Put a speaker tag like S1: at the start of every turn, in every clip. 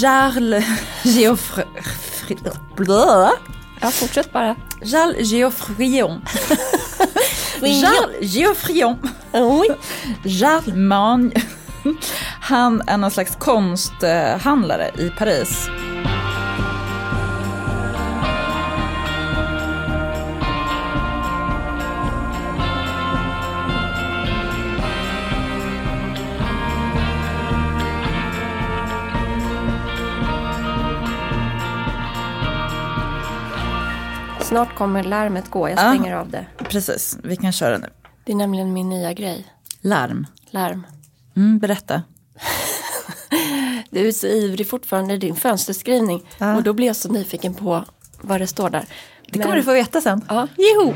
S1: Charles Geoffre... Blö.
S2: Ja, fortsätt bara.
S1: Charles Geoffrion. Charles Geoffrion.
S2: Oj.
S1: Charles Magne. Han är någon slags konsthandlare i Paris.
S2: Snart kommer larmet gå, jag
S1: Ja.
S2: stänger av det.
S1: Precis, vi kan köra nu.
S2: Det är nämligen min nya grej,
S1: Larm.
S2: larm.
S1: Mm, berätta.
S2: Du är så ivrig fortfarande i din fönsterskrivning
S1: Ja.
S2: och då blir jag så nyfiken på vad det står där.
S1: Det kommer du få veta sen.
S2: Ja, joho!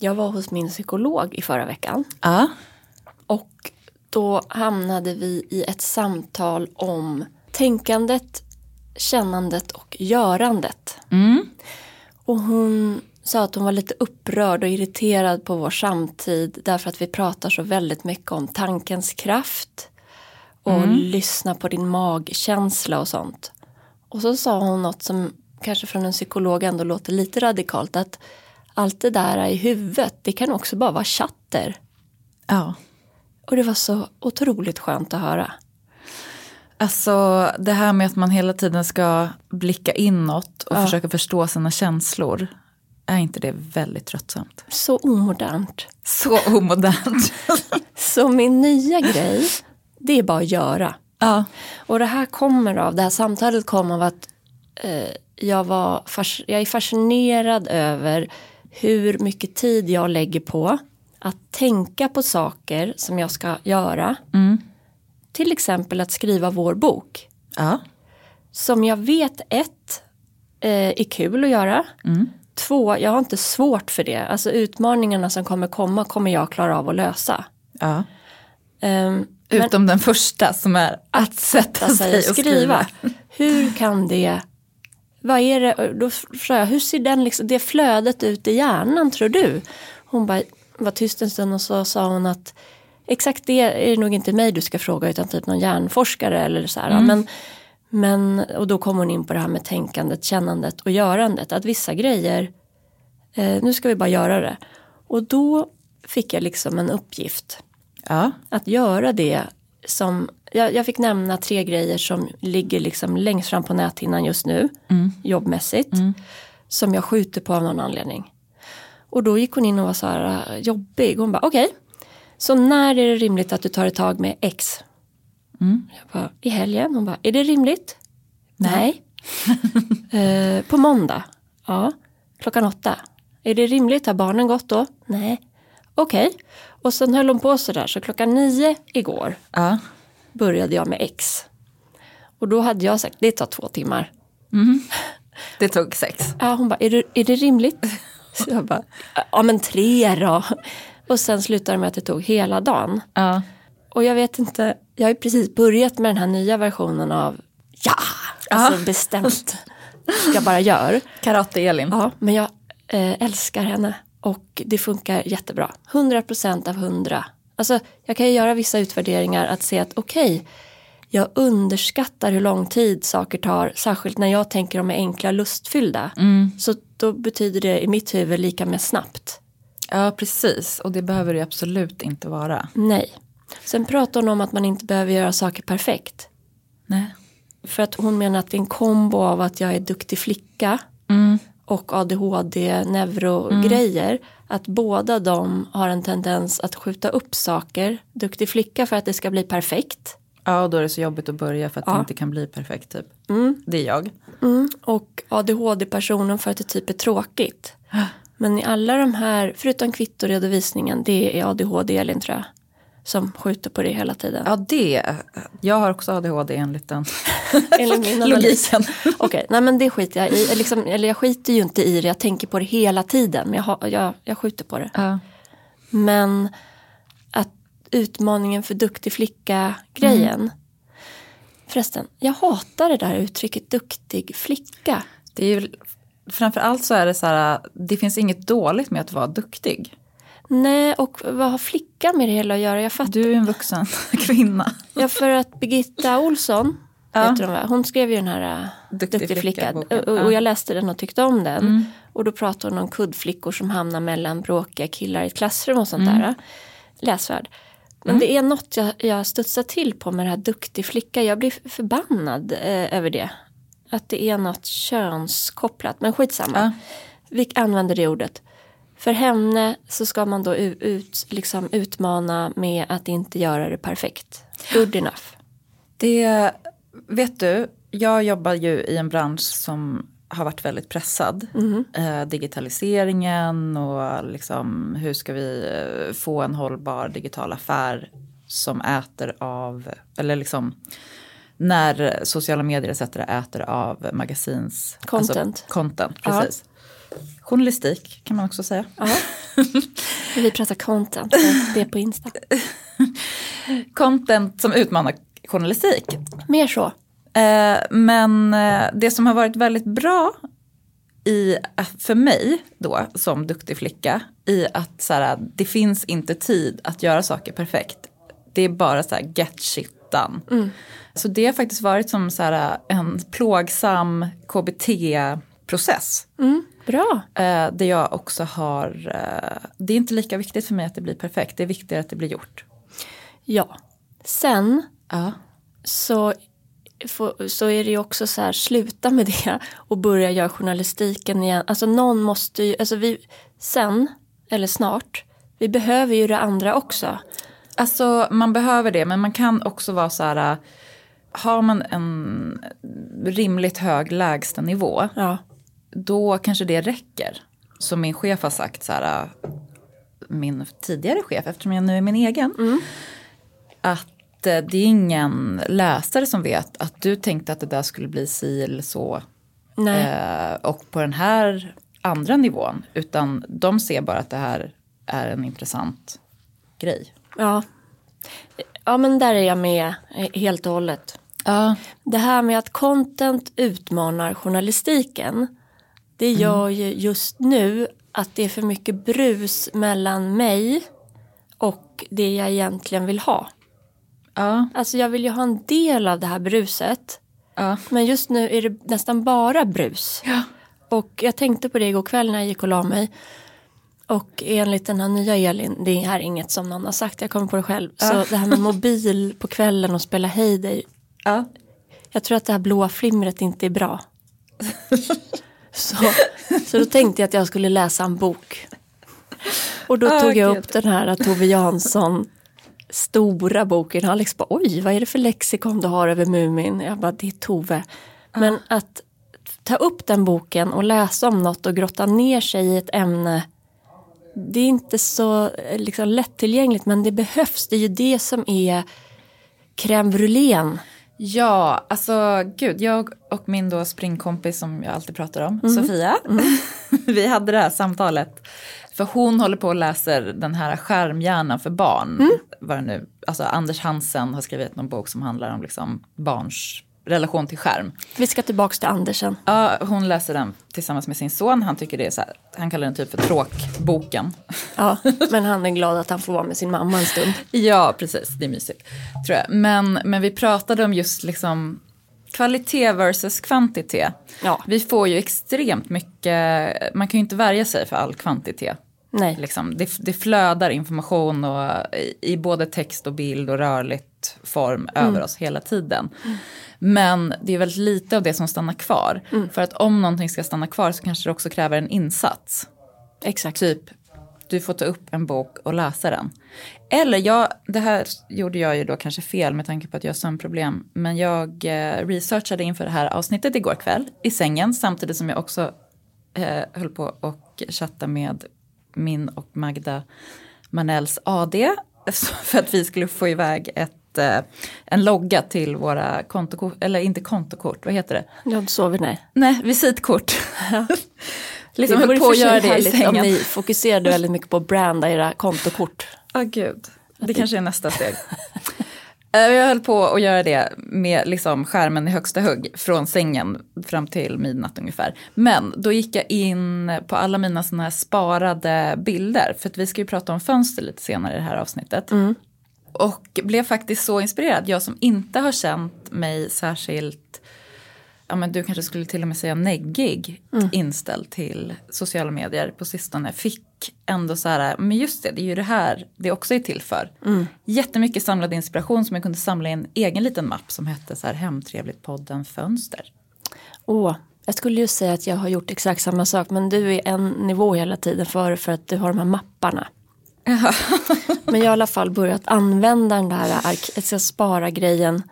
S2: Jag var hos min psykolog i förra veckan
S1: Ja.
S2: och då hamnade vi i ett samtal om tänkandet, kännandet och görandet. Och hon sa att hon var lite upprörd och irriterad på vår samtid därför att vi pratar så väldigt mycket om tankens kraft och lyssna på din magkänsla och sånt. Och så sa hon något som kanske från en psykolog ändå låter lite radikalt att allt det där i huvudet det kan också bara vara chatter.
S1: ja.
S2: Och det var så otroligt skönt att höra.
S1: Alltså det här med att man hela tiden ska blicka inåt och försöka förstå sina känslor. Är inte det väldigt tröttsamt?
S2: Så omodernt.
S1: Så omodernt.
S2: Så min nya grej, det är bara att göra.
S1: ja.
S2: Och det här kommer av, det här samtalet kom av att eh, jag, var fas, jag är fascinerad över hur mycket tid jag lägger på att tänka på saker som jag ska göra. Till exempel att skriva vår bok.
S1: ja.
S2: Som jag vet ett, eh, är kul att göra. Två, jag har inte svårt för det. Alltså utmaningarna som kommer komma kommer jag klara av att lösa.
S1: Ja.
S2: Ehm,
S1: Utom den första som är att sätta
S2: sätta
S1: sig och skriva.
S2: Hur kan det, vad är det, Och då frågar jag, hur ser den liksom, det flödet ut i hjärnan tror du? Hon bara, var tyst en stund och så sa hon att exakt det är det nog inte mig du ska fråga utan typ någon hjärnforskare eller så här.
S1: Mm.
S2: Men, men, och då kom hon in på det här med tänkandet, kännandet och görandet. Att vissa grejer, eh, nu ska vi bara göra det. Och då fick jag liksom en uppgift
S1: Ja.
S2: att göra det som, jag, jag fick nämna tre grejer som ligger liksom längst fram på näthinnan just nu, jobbmässigt, som jag skjuter på av någon anledning. Och då gick hon in och var så här äh, jobbig, hon bara okej, så när är det rimligt att du tar ett tag med X? Jag bara, I helgen? Hon bara, är det rimligt? Nej. Eh, på måndag? Ja. Klockan åtta? Är det rimligt? Har barnen gått då? Nej. Okej. Och sen höll hon på sådär, så klockan nio igår
S1: Ja.
S2: började jag med X. Och då hade jag sagt, det tar två timmar.
S1: Det tog sex.
S2: Ja, hon bara, är det, är det rimligt? Så jag bara, ja men tre då. Och sen slutade det med att det tog hela dagen.
S1: Ja.
S2: Och jag vet inte, jag har ju precis börjat med den här nya versionen av ja, alltså bestämt. Jag bara gör.
S1: Karate-Elin.
S2: Ja, men jag eh, älskar henne och det funkar jättebra. 100% av 100. Alltså, jag kan ju göra vissa utvärderingar att se att okej, jag underskattar hur lång tid saker tar, särskilt när jag tänker de är enkla och lustfyllda. Så då betyder det i mitt huvud lika med snabbt.
S1: Ja, precis. Och det behöver det absolut inte vara.
S2: Nej. Sen pratar hon om att man inte behöver göra saker perfekt.
S1: Nej.
S2: För att hon menar att det är en kombo av att jag är duktig flicka och ADHD, neurogrejer. Att båda de har en tendens att skjuta upp saker. Duktig flicka för att det ska bli perfekt.
S1: Ja, och då är det så jobbigt att börja för att det inte kan bli perfekt typ. Det är jag.
S2: Och ADHD-personen för att det typ är tråkigt. Men i alla de här, förutom kvittoredovisningen, det är ADHD-Elin tror jag. Som skjuter på det hela tiden.
S1: Ja, det. Jag har också ADHD enligt den
S2: Enligt min analys.
S1: logiken.
S2: Okej, nej men det skiter jag i. Liksom, eller jag skiter ju inte i det, jag tänker på det hela tiden. Men jag, har, jag, jag skjuter på det.
S1: Ja.
S2: Men att utmaningen för duktig flicka-grejen. Förresten, jag hatar det där uttrycket duktig flicka.
S1: Det är ju, framförallt så är det så här, det finns inget dåligt med att vara duktig.
S2: Nej, och vad har flicka med det hela att göra? Jag fattar.
S1: Du är en vuxen kvinna.
S2: Ja, för att Birgitta Olsson
S1: Ja.
S2: Heter hon, va? hon skrev ju den här äh,
S1: Duktig
S2: Duktig,
S1: flicka,
S2: flicka.
S1: boken.
S2: och,
S1: Ja.
S2: och jag läste den och tyckte om den. Och då pratade hon om kuddflickor som hamnar mellan bråkiga killar i ett klassrum och sånt där. äh. Läsvärd. Men det är något jag, jag studsar till på med det här duktig flicka. Jag blir förbannad eh, över det. Att det är något könskopplat. Men skitsamma.
S1: Ja.
S2: Vi använder det ordet. För henne så ska man då u- ut, liksom utmana med att inte göra det perfekt. Good enough.
S1: Det, vet du, jag jobbar ju i en bransch som har varit väldigt pressad.
S2: Mm-hmm.
S1: Eh, digitaliseringen och liksom hur ska vi eh, få en hållbar digital affär som äter av, eller liksom när sociala medier etc. äter av magasins
S2: Content.
S1: Alltså, content,
S2: Ja.
S1: precis. Journalistik kan man också säga.
S2: Ja. Vi pratar content, men det är på Insta.
S1: Content som utmanar journalistik.
S2: Mer så.
S1: Eh, men eh, det som har varit väldigt bra i, eh, för mig då som duktig flicka i att så här, det finns inte tid att göra saker perfekt. Det är bara så här get shit done. Så det har faktiskt varit som så här, en plågsam KBT-process.
S2: Bra.
S1: Eh, där jag också har, eh, det är inte lika viktigt för mig att det blir perfekt, det är viktigare att det blir gjort.
S2: Ja. Sen
S1: Ja.
S2: så, får- så är det ju också så här, sluta med det och börja göra journalistiken igen. Alltså någon måste ju, alltså vi, sen eller snart, vi behöver ju det andra också.
S1: Alltså man behöver det men man kan också vara så här. äh, Har man en rimligt hög lägstanivå
S2: Ja.
S1: då kanske det räcker. Som min chef har sagt så här. äh, Min tidigare chef eftersom jag nu är min egen. Att äh, det är ingen läsare som vet att du tänkte att det där skulle bli si eller så.
S2: Nej.
S1: eh, Och på den här andra nivån. Utan de ser bara att det här är en intressant grej.
S2: Ja. ja, men där är jag med eh, helt och hållet.
S1: Ja.
S2: Det här med att content utmanar journalistiken. Det gör ju just nu att det är för mycket brus mellan mig och det jag egentligen vill ha.
S1: Ja.
S2: Alltså jag vill ju ha en del av det här bruset.
S1: Ja.
S2: Men just nu är det nästan bara brus. Och jag tänkte på det igår kväll när jag gick och la mig. Och enligt den här nya Elin, det här är inget som någon har sagt, jag kommer på det själv. Så det här med mobil på kvällen och spela Hay Day,
S1: Ja.
S2: jag tror att det här blåa flimret inte är bra. så, så då tänkte jag att jag skulle läsa en bok. Och då
S1: Ah,
S2: tog jag
S1: gud.
S2: upp den här Tove Jansson stora boken. Alex bara, oj vad är det för lexikon du har över Mumin? Jag bara, det är Tove.
S1: Ah.
S2: Men att ta upp den boken och läsa om något och grotta ner sig i ett ämne. Det är inte så eh, liksom, lättillgängligt men det behövs. Det är ju det som är crème brûlén.
S1: Ja, alltså gud, jag och min då springkompis som jag alltid pratar om, Sofia, vi hade det här samtalet. För hon håller på och läser den här skärmhjärnan för barn. Vad det nu, alltså Anders Hansen har skrivit någon bok som handlar om liksom barns relation till skärm.
S2: Vi ska tillbaka till Andersen.
S1: Ja, hon läser den tillsammans med sin son. Han tycker det är så här, han kallar den typ för tråkboken.
S2: Ja, men han är glad att han får vara med sin mamma en stund.
S1: Ja, precis. Det är mysigt. Tror jag. Men, men vi pratade om just liksom kvalitet versus kvantitet.
S2: Ja.
S1: Vi får ju extremt mycket, man kan ju inte värja sig för all kvantitet.
S2: Nej,
S1: Liksom. Det, det flödar information och, i, i både text och bild och rörligt form
S2: Mm.
S1: över oss hela tiden. Men det är väldigt lite av det som stannar kvar.
S2: Mm.
S1: För att om någonting ska stanna kvar så kanske det också kräver en insats.
S2: exakt.
S1: Typ, du får ta upp en bok och läsa den. Eller jag, det här gjorde jag ju då kanske fel med tanke på att jag har sömnproblem. Men jag eh, researchade inför det här avsnittet igår kväll i sängen. Samtidigt som jag också eh, höll på och chatta med min och Magda Manells AD. så- För att vi skulle få iväg ett, eh, en logga till våra kontokort, eller inte kontokort, vad heter det?
S2: Jag inte sover, nej.
S1: Nej, visitkort. liksom
S2: vore
S1: höll på
S2: för
S1: att
S2: sig
S1: göra det i
S2: härligt
S1: sängen.
S2: Om ni fokuserade väldigt mycket på att branda era kontokort.
S1: Ja, gud. Det kanske är nästa steg. Eh, Jag höll på att göra det med liksom skärmen i högsta hugg från sängen fram till midnatt ungefär. Men då gick jag in på alla mina såna här sparade bilder. För att vi ska ju prata om fönster lite senare i det här avsnittet. Och blev faktiskt så inspirerad, jag som inte har känt mig särskilt Ja, men du kanske skulle till och med säga neggig
S2: Mm.
S1: inställd till sociala medier på sistone fick ändå så här, men just det, det är ju det här det också är till för. Mm. Jättemycket samlad inspiration som jag kunde samla i en egen liten mapp som hette så här Hemtrevligt podden Fönster.
S2: Åh, jag skulle ju säga att jag har gjort exakt samma sak men du är en nivå hela tiden för, för att du har de här mapparna. men jag har i alla fall börjat använda den där ark- alltså spara-grejen.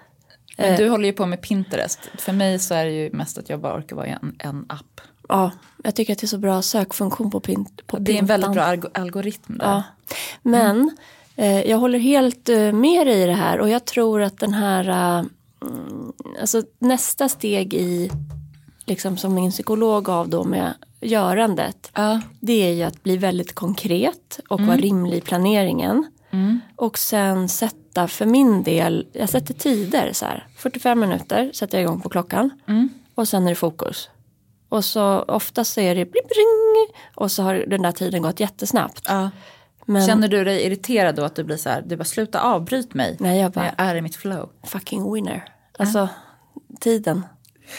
S1: Men
S2: Eh.
S1: du håller ju på med Pinterest. För mig så är det ju mest att jag bara orkar vara i en, en app.
S2: Ja, jag tycker att det är så bra sökfunktion på, pin- på
S1: Det är en väldigt
S2: Pintan.
S1: bra alg- algoritm där.
S2: Ja. Men eh, jag håller helt eh, med dig i det här och jag tror att den här, eh, mm, alltså nästa steg i, liksom som min psykolog gav då med görandet,
S1: Ja.
S2: det är ju att bli väldigt konkret och vara rimlig i planeringen. Och sen sätta för min del, jag sätter tider så här, 45 minuter sätter jag igång på klockan och sen är det fokus. Och så oftast så är det blipp, ring, och så har den där tiden gått jättesnabbt.
S1: Ja.
S2: Men
S1: Känner du dig irriterad då att du blir så här, du bara sluta avbryt mig.
S2: nej, jag bara,
S1: Jag är i mitt flow.
S2: fucking winner. Alltså tiden,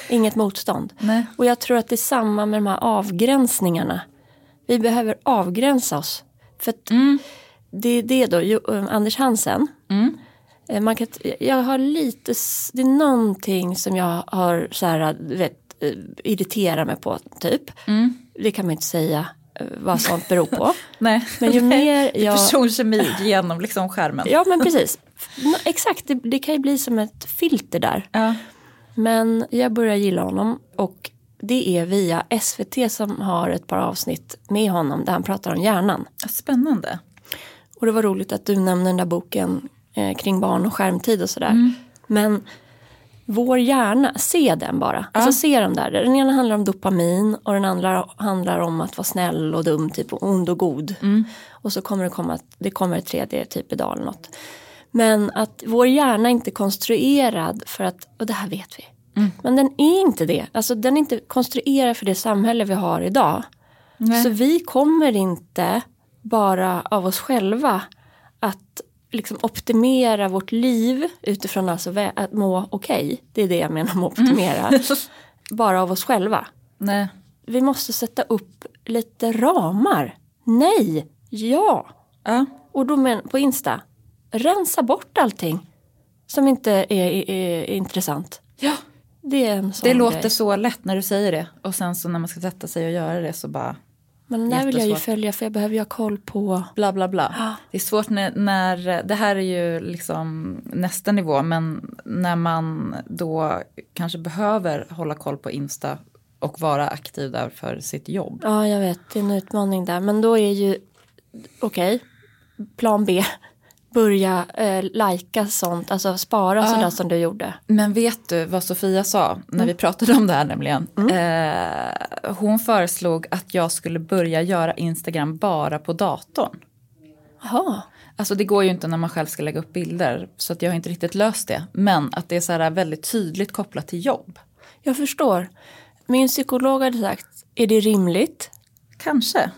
S2: inget motstånd.
S1: Nej.
S2: Och jag tror att det är samma med de här avgränsningarna. Vi behöver avgränsa oss. För att
S1: Mm.
S2: det är det då, jo, eh, Anders Hansen. Eh, Man kan, t- jag har lite, s- det är någonting som jag har så här, du vet, eh, irriterar mig på typ.
S1: Mm.
S2: Det kan man ju inte säga eh, vad sånt beror på.
S1: Nej.
S2: Men ju mer
S1: Ja.
S2: jag...
S1: Personkemi genom liksom skärmen.
S2: Ja men precis. Nå- Exakt, det, det kan ju bli som ett filter där.
S1: Ja.
S2: Men jag börjar gilla honom och det är via SVT som har ett par avsnitt med honom där han pratar om hjärnan.
S1: Spännande.
S2: Och det var roligt att du nämnde den där boken eh, kring barn och skärmtid och sådär. Men vår hjärna, se den bara. Alltså se de där. Den ena handlar om dopamin och den andra handlar om att vara snäll och dum, typ och ond och god. Och så kommer det komma, det kommer ett tredje typ idag eller något. Men att vår hjärna är inte konstruerad för att, och det här vet vi. Men den är inte det. Alltså den är inte konstruerad för det samhälle vi har idag.
S1: Nej.
S2: Så vi kommer inte bara av oss själva att liksom optimera vårt liv utifrån alltså vä- att må okej. Det är det jag menar med optimera.
S1: Mm.
S2: bara av oss själva.
S1: Nej.
S2: Vi måste sätta upp lite ramar. Nej, ja.
S1: Ja.
S2: Och då men, på Insta, rensa bort allting som inte är, är, är intressant.
S1: ja.
S2: Det är en sån
S1: Det låter
S2: grej.
S1: så lätt när du säger det och sen så när man ska sätta sig och göra det så bara
S2: Men den där vill jag ju
S1: jättesvårt.
S2: följa för jag behöver ju ha koll på
S1: bla bla bla. Det är svårt när, när, det här är ju liksom nästa nivå, men när man då kanske behöver hålla koll på Insta och vara aktiv där för sitt jobb.
S2: Ja, jag vet. Det är en utmaning där. Men då är ju, okej, plan B. Börja eh, lajka sånt, alltså spara sådär som du gjorde.
S1: Men vet du vad Sofia sa när
S2: Mm.
S1: vi pratade om det här nämligen? Eh, hon föreslog att jag skulle börja göra Instagram bara på datorn.
S2: Jaha,
S1: Alltså det går ju inte när man själv ska lägga upp bilder så att jag har inte riktigt löst det. Men att det är så här väldigt tydligt kopplat till jobb.
S2: jag förstår. Min psykolog hade sagt, är det rimligt?
S1: Kanske.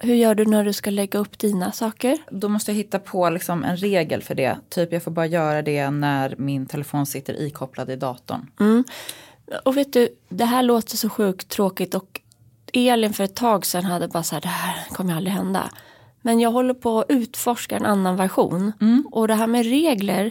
S2: Hur gör du när du ska lägga upp dina saker?
S1: Då måste jag hitta på liksom en regel för det. Typ jag får bara göra det när min telefon sitter ikopplad i datorn.
S2: Mm. Och vet du, det här låter så sjukt tråkigt och Elin för ett tag sedan hade bara så här, det här kommer ju aldrig hända. Men jag håller på att utforska en annan version. Och det här med regler,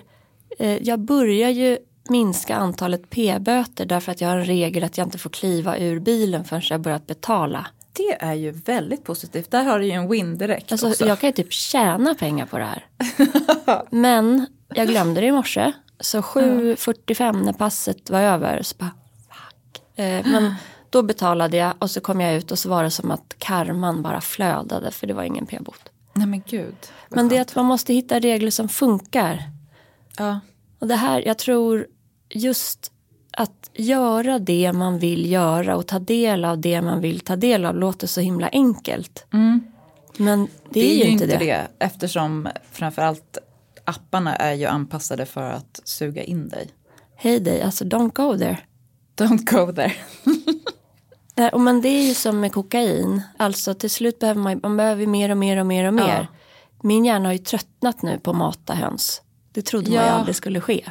S2: eh, jag börjar ju minska antalet p-böter därför att jag har en regel att jag inte får kliva ur bilen förrän jag börjat betala.
S1: Det är ju väldigt positivt. Där har du ju en win direkt
S2: Alltså
S1: också.
S2: jag kan ju typ tjäna pengar på det här. Men jag glömde det i morse. Så 7.45 när passet var över så bara fuck. Eh, men då betalade jag och så kom jag ut och så var det som att karman bara flödade för det var ingen p-bot.
S1: Nej men gud. vad
S2: Men det är
S1: skönt.
S2: att man måste hitta regler som funkar.
S1: Ja.
S2: Och det här, jag tror just att göra det man vill göra och ta del av det man vill ta del av låter så himla enkelt. Men Mm. det,
S1: Det
S2: är ju inte det.
S1: eftersom framförallt apparna är ju anpassade för att suga in dig.
S2: Hej dig, alltså don't go there.
S1: Don't go there.
S2: Nej, och men det är ju som med kokain. Alltså till slut behöver man, man behöver ju mer och mer och mer och mer. Min hjärna har ju tröttnat nu på att mata höns. Det trodde man
S1: Ja.
S2: ju aldrig skulle ske.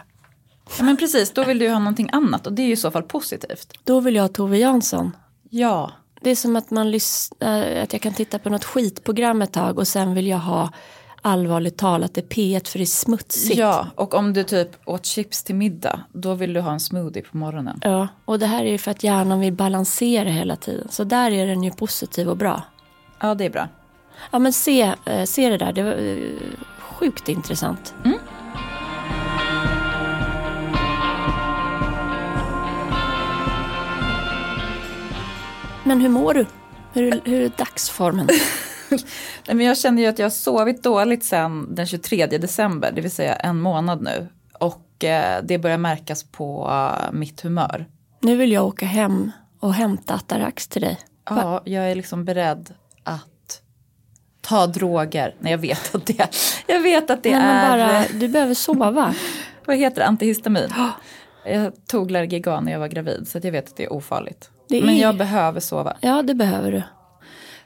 S1: Ja, men precis, då vill du ju ha någonting annat och det är ju i så fall positivt.
S2: Då vill jag ha Tove Jansson.
S1: Ja,
S2: Det är som att, man lyssnar, att jag kan titta på något skitprogram ett tag och sen vill jag ha allvarligt talat det är P1 för det är smutsigt.
S1: ja. och om du typ åt chips till middag, då vill du ha en smoothie på morgonen.
S2: Ja, och det här är ju för att hjärnan vill balansera hela tiden. Så där är den ju positiv och bra.
S1: Ja, det är bra.
S2: Ja men se, eh, se det där, det var eh, sjukt intressant.
S1: Mm.
S2: Men hur mår du? Hur, hur är dagsformen?
S1: Nej, men jag känner ju att jag har sovit dåligt sen den 23 december, det vill säga en månad nu. Och eh, det börjar märkas på eh, mitt humör.
S2: Nu vill jag åka hem och hämta Atarax till dig.
S1: Ja, jag är liksom beredd att ta droger. Nej, jag vet att det, jag vet att det
S2: Nej, men
S1: är...
S2: bara, du behöver sova.
S1: Vad heter det? Antihistamin. Jag tog Largigan när jag var gravid så att jag vet att det är ofarligt.
S2: Det
S1: Men
S2: är-
S1: jag behöver sova.
S2: Ja, det behöver du.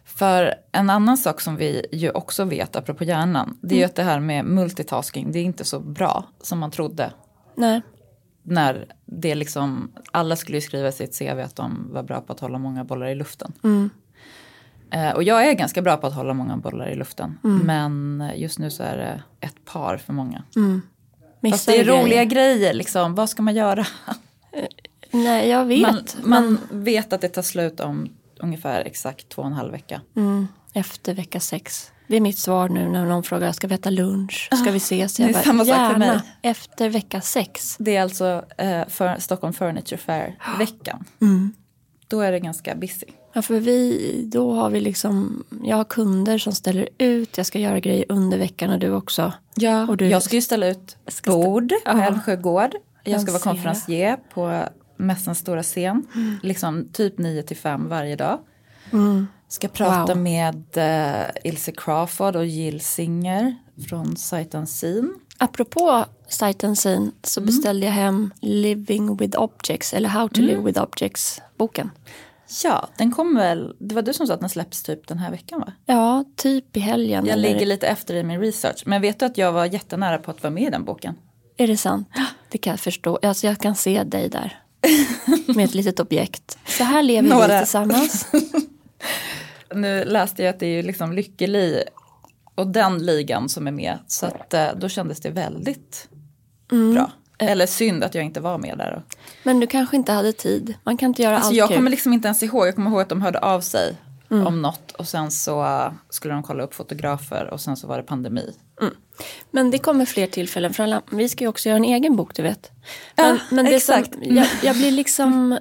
S1: För en annan sak som vi ju också vet apropå hjärnan. Det är
S2: Mm.
S1: ju att det här med multitasking, det är inte så bra som man trodde.
S2: Nej,
S1: När det liksom, alla skulle ju skriva i sitt CV att de var bra på att hålla många bollar i luften. Eh, Och jag är ganska bra på att hålla många bollar i luften. Men just nu så är det ett par för många.
S2: missar
S1: Fast det är
S2: du grejer?
S1: roliga grejer liksom, vad ska man göra?
S2: Nej, jag vet.
S1: Man, man vet att det tar slut om ungefär exakt två och en halv vecka.
S2: Mm, efter vecka sex. Det är mitt svar nu när någon frågar, ska vi äta lunch? Ska vi ses?
S1: Ah, det är samma sak för
S2: gärna.
S1: mig.
S2: Efter vecka sex.
S1: Det är alltså eh, för Stockholm Furniture Fair-veckan. Då är det ganska busy.
S2: Ja, för vi, då har vi liksom, jag har kunder som ställer ut, jag ska göra grejer under veckan och du också.
S1: Ja,
S2: och du,
S1: jag ska ju ställa ut
S2: ska
S1: bord på Älvsjö gård. Jag ska vara
S2: Lansera.
S1: konferencier på mässans stora scen.
S2: Mm.
S1: Liksom typ 9 till 5 varje dag. Ska prata
S2: Wow.
S1: med eh, Ilse Crawford och Jill Singer från Sight Unseen.
S2: Apropå sajten Scene så
S1: Mm.
S2: beställde jag hem Living with Objects, eller How to Live with Objects-boken.
S1: Ja, den kom väl, det var du som sa att den släpps typ den här veckan va?
S2: Ja, typ i helgen.
S1: Jag
S2: eller-
S1: ligger lite efter i min research. Men vet du att jag var jättenära på att vara med i den boken?
S2: Är det sant? Det kan jag förstå. Alltså jag kan se dig där. Med ett litet objekt. Så här lever vi
S1: Några.
S2: tillsammans.
S1: Nu läste jag att det är ju liksom Lykkeli och den ligan som är med. Så att, eh, då kändes det väldigt
S2: Mm.
S1: bra. Eller synd att jag inte var med där. Och-
S2: Men du kanske inte hade tid. Man kan inte göra
S1: Alltså
S2: allt
S1: jag
S2: kul. Mm.
S1: kommer liksom inte ens ihåg. Jag kommer ihåg att de hörde av sig om något. Och sen så eh, skulle de kolla upp fotografer och sen så var det pandemi.
S2: Men det kommer fler tillfällen. För alla... Vi ska ju också göra en egen bok, du vet. Men, men det
S1: exakt.
S2: Som, jag, jag blir liksom...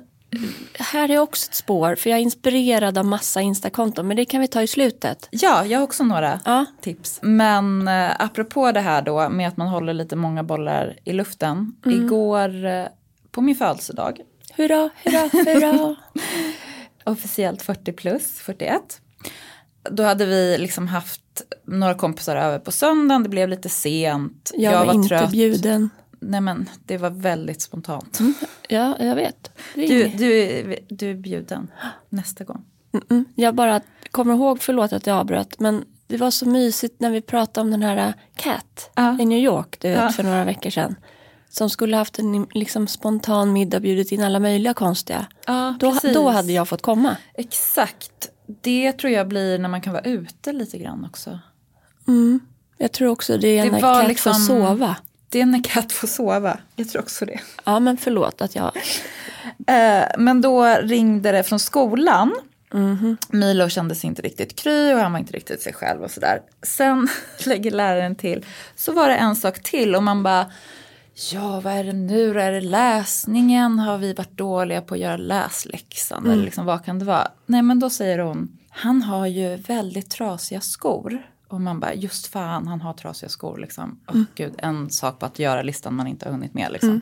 S2: Här är också ett spår, för jag är inspirerad av massa Instakonton. Men det kan vi ta i slutet.
S1: Ja, jag har också några
S2: Ja.
S1: tips. Men eh, apropå det här då med att man håller lite många bollar i luften.
S2: Mm.
S1: Igår eh, på min födelsedag,
S2: Hurra, hurra, hurra.
S1: officiellt 40 plus, 41. Då hade vi liksom haft några kompisar över på söndagen, det blev lite sent.
S2: Jag, var, inte bjuden.
S1: Nej men det var väldigt spontant.
S2: Mm. Ja, jag vet. Det är
S1: Du,
S2: inget-
S1: du, du är bjuden nästa gång.
S2: Mm, jag bara kommer ihåg, förlåt att jag avbröt, men det var så mysigt när vi pratade om den här äh, Cat
S1: Ja.
S2: i New York du vet,
S1: Ja.
S2: för några veckor sedan. Som skulle haft en liksom, spontan middag och bjudit in alla möjliga konstiga.
S1: Ja,
S2: Då, då hade jag fått komma.
S1: Exakt. Det tror jag blir när man kan vara ute lite grann också.
S2: Jag tror också det är
S1: Det
S2: när
S1: var
S2: Cat
S1: liksom-
S2: får sova.
S1: Det är när katt får sova. Jag tror också det.
S2: Ja men förlåt att jag...
S1: Eh, men då ringde det från skolan. Milo kände sig inte riktigt kry och han var inte riktigt sig själv och sådär. Sen lägger läraren till, så var det en sak till och man bara Ja, vad är det nu då? Är det läsningen? Har vi varit dåliga på att göra läsläxan? Eller liksom, vad kan det vara? Nej, men då säger hon, han har ju väldigt trasiga skor. Och man bara, just fan, han har trasiga skor liksom. Åh gud, en sak på att göra-listan man inte har hunnit med liksom.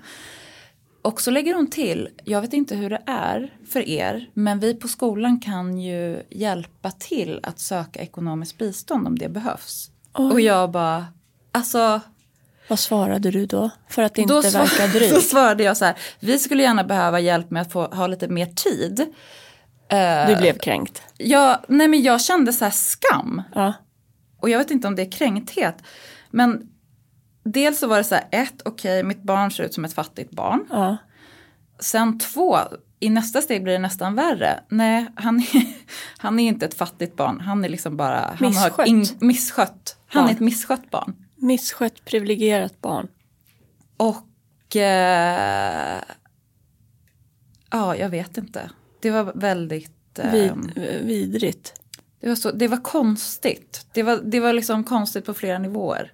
S1: Och så lägger hon till, jag vet inte hur det är för er, men vi på skolan kan ju hjälpa till att söka ekonomiskt bistånd om det behövs. Och jag bara, alltså,
S2: Vad svarade du då? För att inte
S1: då, svar-
S2: verka
S1: då
S2: dryg.
S1: svarade jag så här, vi skulle gärna behöva hjälp med att få ha lite mer tid.
S2: Du blev kränkt.
S1: Jag, nej men jag kände så här skam,
S2: Ja.
S1: och jag vet inte om det är kränkthet, men dels så var det så här, ett, okej, mitt barn ser ut som ett fattigt barn.
S2: Ja.
S1: Sen två, i nästa steg blir det nästan värre. Nej, han är, han är inte ett fattigt barn, han är liksom bara... Han Har
S2: Misskött.
S1: in, misskött. Han
S2: Barn.
S1: är ett misskött barn.
S2: Misskött privilegierat barn.
S1: Och... Eh, ja, jag vet inte. Det var väldigt... eh,
S2: Vid, vidrigt.
S1: det, var så, det var konstigt. Det var, det var liksom konstigt på flera nivåer.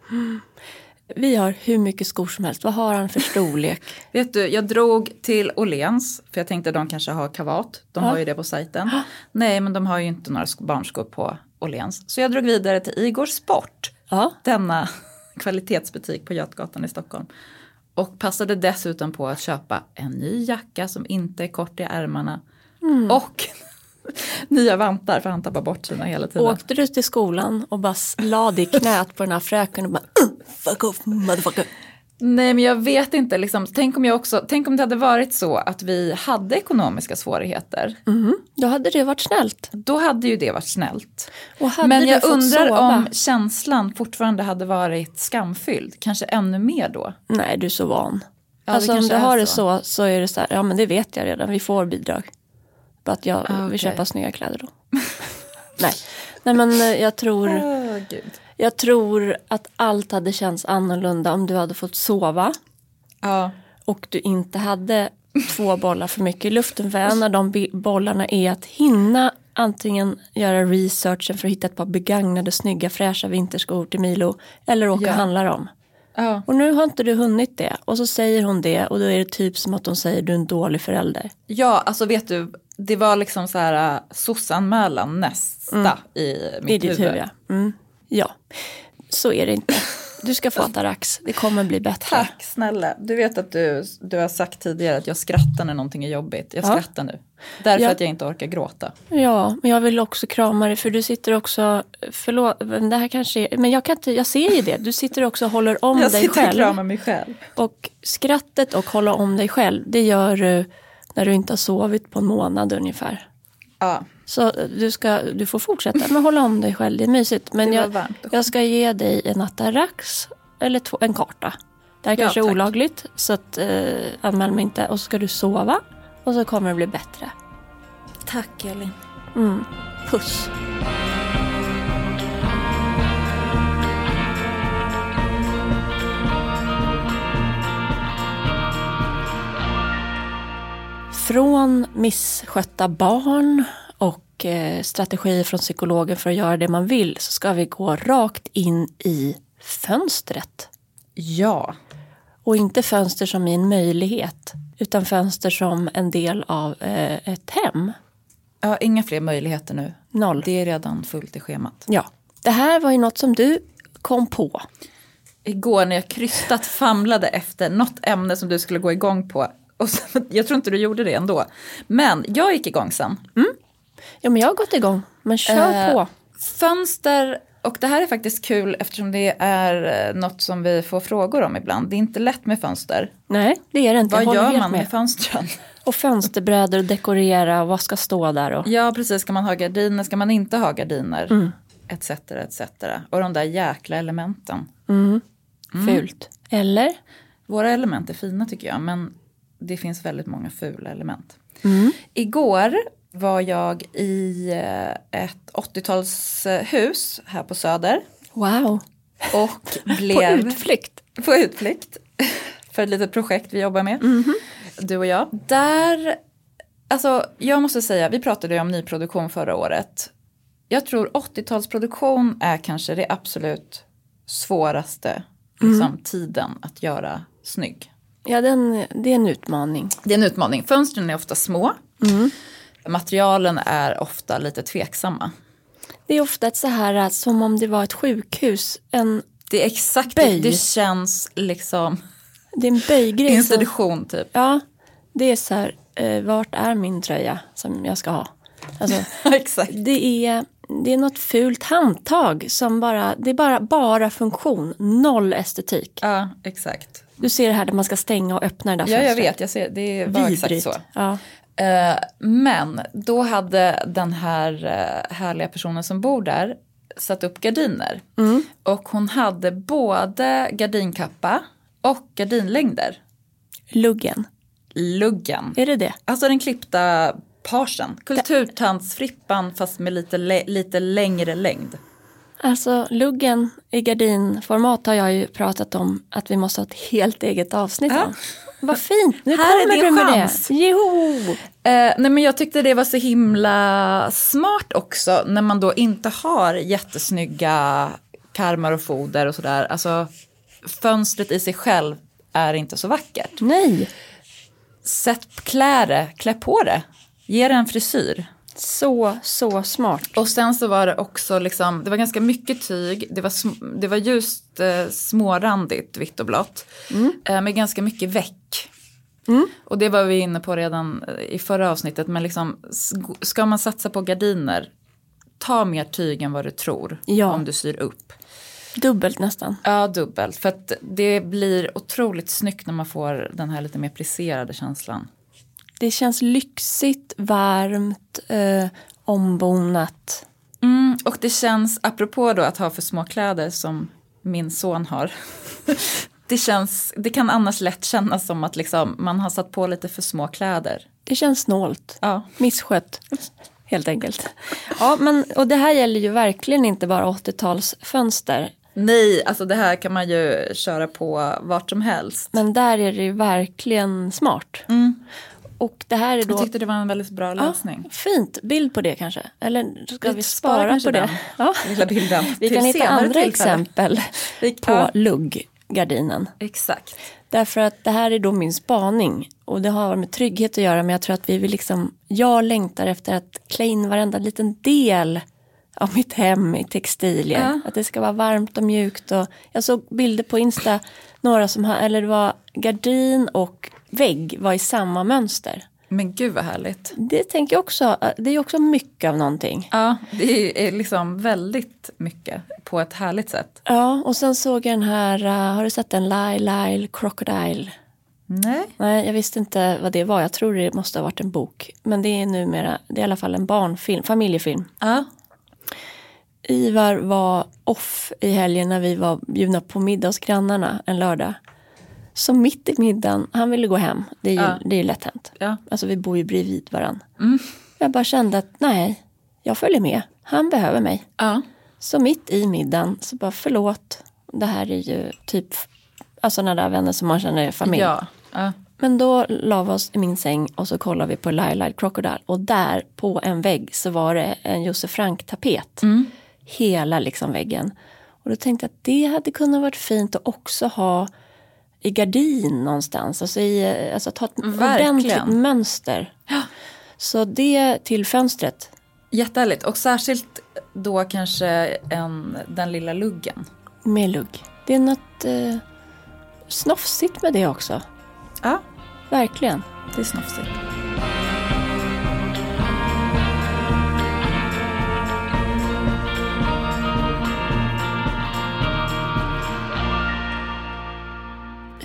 S2: Vi har hur mycket skor som helst. Vad har han för storlek?
S1: Vet du, jag drog till Åhléns för jag tänkte de kanske har kavat. De har ju det på sajten. Nej, men de har ju inte några sk- barnskor på Åhléns. Så jag drog vidare till Igor Sport,
S2: Ja.
S1: denna kvalitetsbutik på Götgatan i Stockholm. Och passade dessutom på att köpa en ny jacka som inte är kort i ärmarna. Och nya vantar för han tappar bort sina hela tiden.
S2: Åkte du till skolan och bara la dig i knät på den här fröken och bara "Ugh, fuck off motherfucker.
S1: Nej men jag vet inte, liksom, tänk, om jag också, tänk om det hade varit så att vi hade ekonomiska svårigheter.
S2: Då hade det varit snällt.
S1: Då hade ju det varit snällt.
S2: Och hade
S1: Men
S2: du
S1: jag
S2: fått
S1: undrar
S2: sova?
S1: om känslan fortfarande hade varit skamfylld, kanske ännu mer då.
S2: Nej, du är så van.
S1: det
S2: alltså om
S1: kanske
S2: du
S1: är
S2: har det
S1: så.
S2: så så är det så här, ja men det vet jag redan, vi får bidrag. Bara att jag
S1: Ah, okej.
S2: vill köpa snygga kläder då. Nej. Nej men eh, jag tror, jag tror att allt hade känts annorlunda om du hade fått sova
S1: Ja.
S2: och du inte hade två bollar för mycket i luften. För en av de bi- bollarna är att hinna antingen göra researchen för att hitta ett par begagnade snygga fräscha vinterskor till Milo eller åka
S1: Ja.
S2: och handla dem.
S1: ja.
S2: Och nu har inte du hunnit det. Och så säger hon det och då är det typ som att hon säger du är en dålig förälder.
S1: Ja, alltså vet du, det var liksom så här äh, sossanmälan nästa i
S2: Mm. I
S1: mitt
S2: ditt huvud. ja. Mm. Ja, så är det inte. Du ska få atarax, det kommer bli bättre.
S1: Tack snälla. Du vet att du, du har sagt tidigare att jag skrattar när någonting är jobbigt. Jag
S2: Ja.
S1: skrattar nu. Därför
S2: Ja.
S1: att jag inte orkar gråta.
S2: Ja, men jag vill också krama dig för du sitter också, förlåt, men det här kanske är, men jag kan inte, jag ser ju det. Du sitter också och håller om
S1: jag
S2: dig
S1: sitter och
S2: själv.
S1: kramar mig själv.
S2: Och skrattet och hålla om dig själv, det gör du när du inte har sovit på en månad ungefär.
S1: Ja.
S2: Så eh, du, ska, du får fortsätta men hålla om dig själv, det är mysigt. Men
S1: Det var
S2: jag,
S1: varmt och
S2: jag ska ge dig en Atarax eller två, en karta. Det här
S1: Ja,
S2: kanske är
S1: tack.
S2: olagligt så att, eh, anmäl mig inte. Och så ska du sova och så kommer det bli bättre.
S1: Tack Elin.
S2: Puss! Från misskötta barn och eh, strategier från psykologen för att göra det man vill så ska vi gå rakt in i fönstret.
S1: Ja.
S2: Och inte fönster som är en möjlighet utan fönster som en del av eh, ett hem.
S1: ja, inga fler möjligheter nu.
S2: Noll.
S1: Det är redan fullt i schemat.
S2: Ja. Det här var ju något som du kom på.
S1: Igår när jag krystat famlade efter något ämne som du skulle gå igång på. Och så, jag tror inte du gjorde det ändå. Men jag gick igång sen.
S2: Ja, men jag har gått igång. Men kör
S1: Eh,
S2: på.
S1: Fönster, och det här är faktiskt kul eftersom det är eh, något som vi får frågor om ibland. Det är inte lätt med fönster.
S2: Nej, det är det inte.
S1: Vad
S2: jag håller
S1: gör
S2: helt
S1: man med
S2: med.
S1: fönstren?
S2: Och fönsterbrädor och dekorera och vad ska stå där och...
S1: Ja, precis. Ska man ha gardiner? Ska man inte ha gardiner? Mm. Etc, etc. Och de där jäkla elementen.
S2: Mm. Fult. Eller?
S1: Våra element är fina tycker jag, men det finns väldigt många fula element.
S2: Mm.
S1: Igår var jag i eh, ett 80-talshus här på Söder
S2: Wow.
S1: och
S2: På
S1: blev
S2: utflykt.
S1: på utflykt för ett litet projekt vi jobbar med, du och jag. Där, alltså jag måste säga, vi pratade ju om nyproduktion förra året. Jag tror 80-talsproduktion är kanske det absolut svåraste liksom, tiden att göra snygg.
S2: Ja, den, det är en utmaning.
S1: Det är en utmaning. Fönstren är ofta små. Materialen är ofta lite tveksamma.
S2: Det är ofta ett så här att som om det var ett sjukhus. En,
S1: Det är exakt,
S2: Böj.
S1: det känns liksom
S2: det är en böjgrej. som-
S1: institution typ.
S2: Ja, det är så här, eh, vart är min tröja som jag ska ha? Alltså,
S1: exakt.
S2: Det är, det är något fult handtag som bara, det är bara, bara funktion, noll estetik.
S1: Ja, exakt.
S2: Du ser det här där man ska stänga och öppna det där
S1: Ja, jag
S2: fönstret.
S1: vet, jag ser, det var exakt
S2: Vidrigt.
S1: så.
S2: Ja.
S1: Eh, men då hade den här eh, härliga personen som bor där satt upp gardiner. Och hon hade både gardinkappa och gardinlängder.
S2: Luggen,
S1: Luggen.
S2: är det det?
S1: Alltså den klippta parsen. Kulturtantsfrippan fast med lite, lä- lite längre längd.
S2: Alltså luggen i gardinformat har jag ju pratat om att vi måste ha ett helt eget avsnitt
S1: Ja.
S2: om. Vad fint, nu
S1: Här är
S2: kommer
S1: din
S2: du med
S1: chans.
S2: det. Jo!
S1: Eh, nej men jag tyckte det var så himla smart också när man då inte har jättesnygga karmar och foder och sådär. Alltså fönstret i sig själv är inte så vackert.
S2: Nej,
S1: Sätt klä det, klä på det, ge det en frisyr.
S2: så, så smart.
S1: Och sen så var det också liksom, det var ganska mycket tyg, det var, sm- det var just eh, smårandigt vitt och blått. Eh, med ganska mycket väck. Och det var vi inne på redan eh, i förra avsnittet, men liksom s- ska man satsa på gardiner, ta mer tyg än vad du tror
S2: Ja.
S1: om du syr upp.
S2: Dubbelt nästan.
S1: Ja, dubbelt. För att det blir otroligt snyggt när man får den här lite mer plisserade känslan.
S2: Det känns lyxigt, varmt, eh, ombonat.
S1: Mm, och det känns, apropå då att ha för små kläder som min son har. det, känns, det kan annars lätt kännas som att liksom, man har satt på lite för små kläder.
S2: Det känns snålt.
S1: Ja.
S2: Misskött, helt enkelt. Ja, men, och det här gäller ju verkligen inte bara 80-talsfönster.
S1: Nej, alltså det här kan man ju köra på vart som helst.
S2: Men där är det ju verkligen smart.
S1: Mm.
S2: Och det här är
S1: Jag
S2: då...
S1: tyckte det var en väldigt bra
S2: Ja,
S1: lösning.
S2: fint, bild på det kanske. Eller ska
S1: Vi
S2: vi
S1: sparar
S2: spara
S1: kanske
S2: på det?
S1: den.
S2: Ja.
S1: Lilla bilden.
S2: Vi
S1: Till
S2: kan hitta
S1: senare
S2: andra
S1: tillfälle.
S2: exempel
S1: Vi-
S2: på
S1: ja.
S2: lugggardinen.
S1: Exakt.
S2: Därför att det här är då min spaning och det har med trygghet att göra men jag tror att vi vill liksom, jag längtar efter att klä in varenda liten del av mitt hem i textilier.
S1: Ja.
S2: Att det ska vara varmt och mjukt och jag såg bilder på Insta, några som har, eller det var gardin och vägg var i samma mönster.
S1: Men gud vad härligt.
S2: Det tänker jag också, det är också mycket av någonting.
S1: Ja, det är liksom väldigt mycket på ett härligt sätt.
S2: Ja, och sen såg jag den här, eh, har du sett den Lyle Lyle Crocodile?
S1: Nej.
S2: Nej, jag visste inte vad det var. Jag tror det måste ha varit en bok. Men det är numera, det är i alla fall en barnfilm, familjefilm.
S1: Ja.
S2: Ivar var off i helgen när vi var bjudna på middag hos grannarna en lördag. Så mitt i middagen, han ville gå hem. Det är ju,
S1: Ja.
S2: det är ju lätt hänt.
S1: ja. Mm.
S2: Alltså vi bor ju bredvid varann. Jag bara kände att nej, jag följer med. Han behöver mig.
S1: ja.
S2: Så mitt i middagen så bara förlåt. Det här är ju typ, alltså när det är vänner som man känner är familj.
S1: Ja. ja.
S2: Men då la vi oss i min säng och så kollade vi på Lyle Lyle Crocodile och där på en vägg så var det en Josef Frank-tapet. Hela liksom väggen. Och då tänkte jag att det hade kunnat varit fint att också ha i gardin någonstans. Alltså, i, eh, alltså ta ett
S1: Verkligen.
S2: ordentligt mönster. Så det till fönstret.
S1: Jättehärligt och särskilt då kanske en, den lilla luggen.
S2: med lugg. Det är något eh, snofsigt med det också.
S1: Ja,
S2: Verkligen.
S1: det är snofsigt.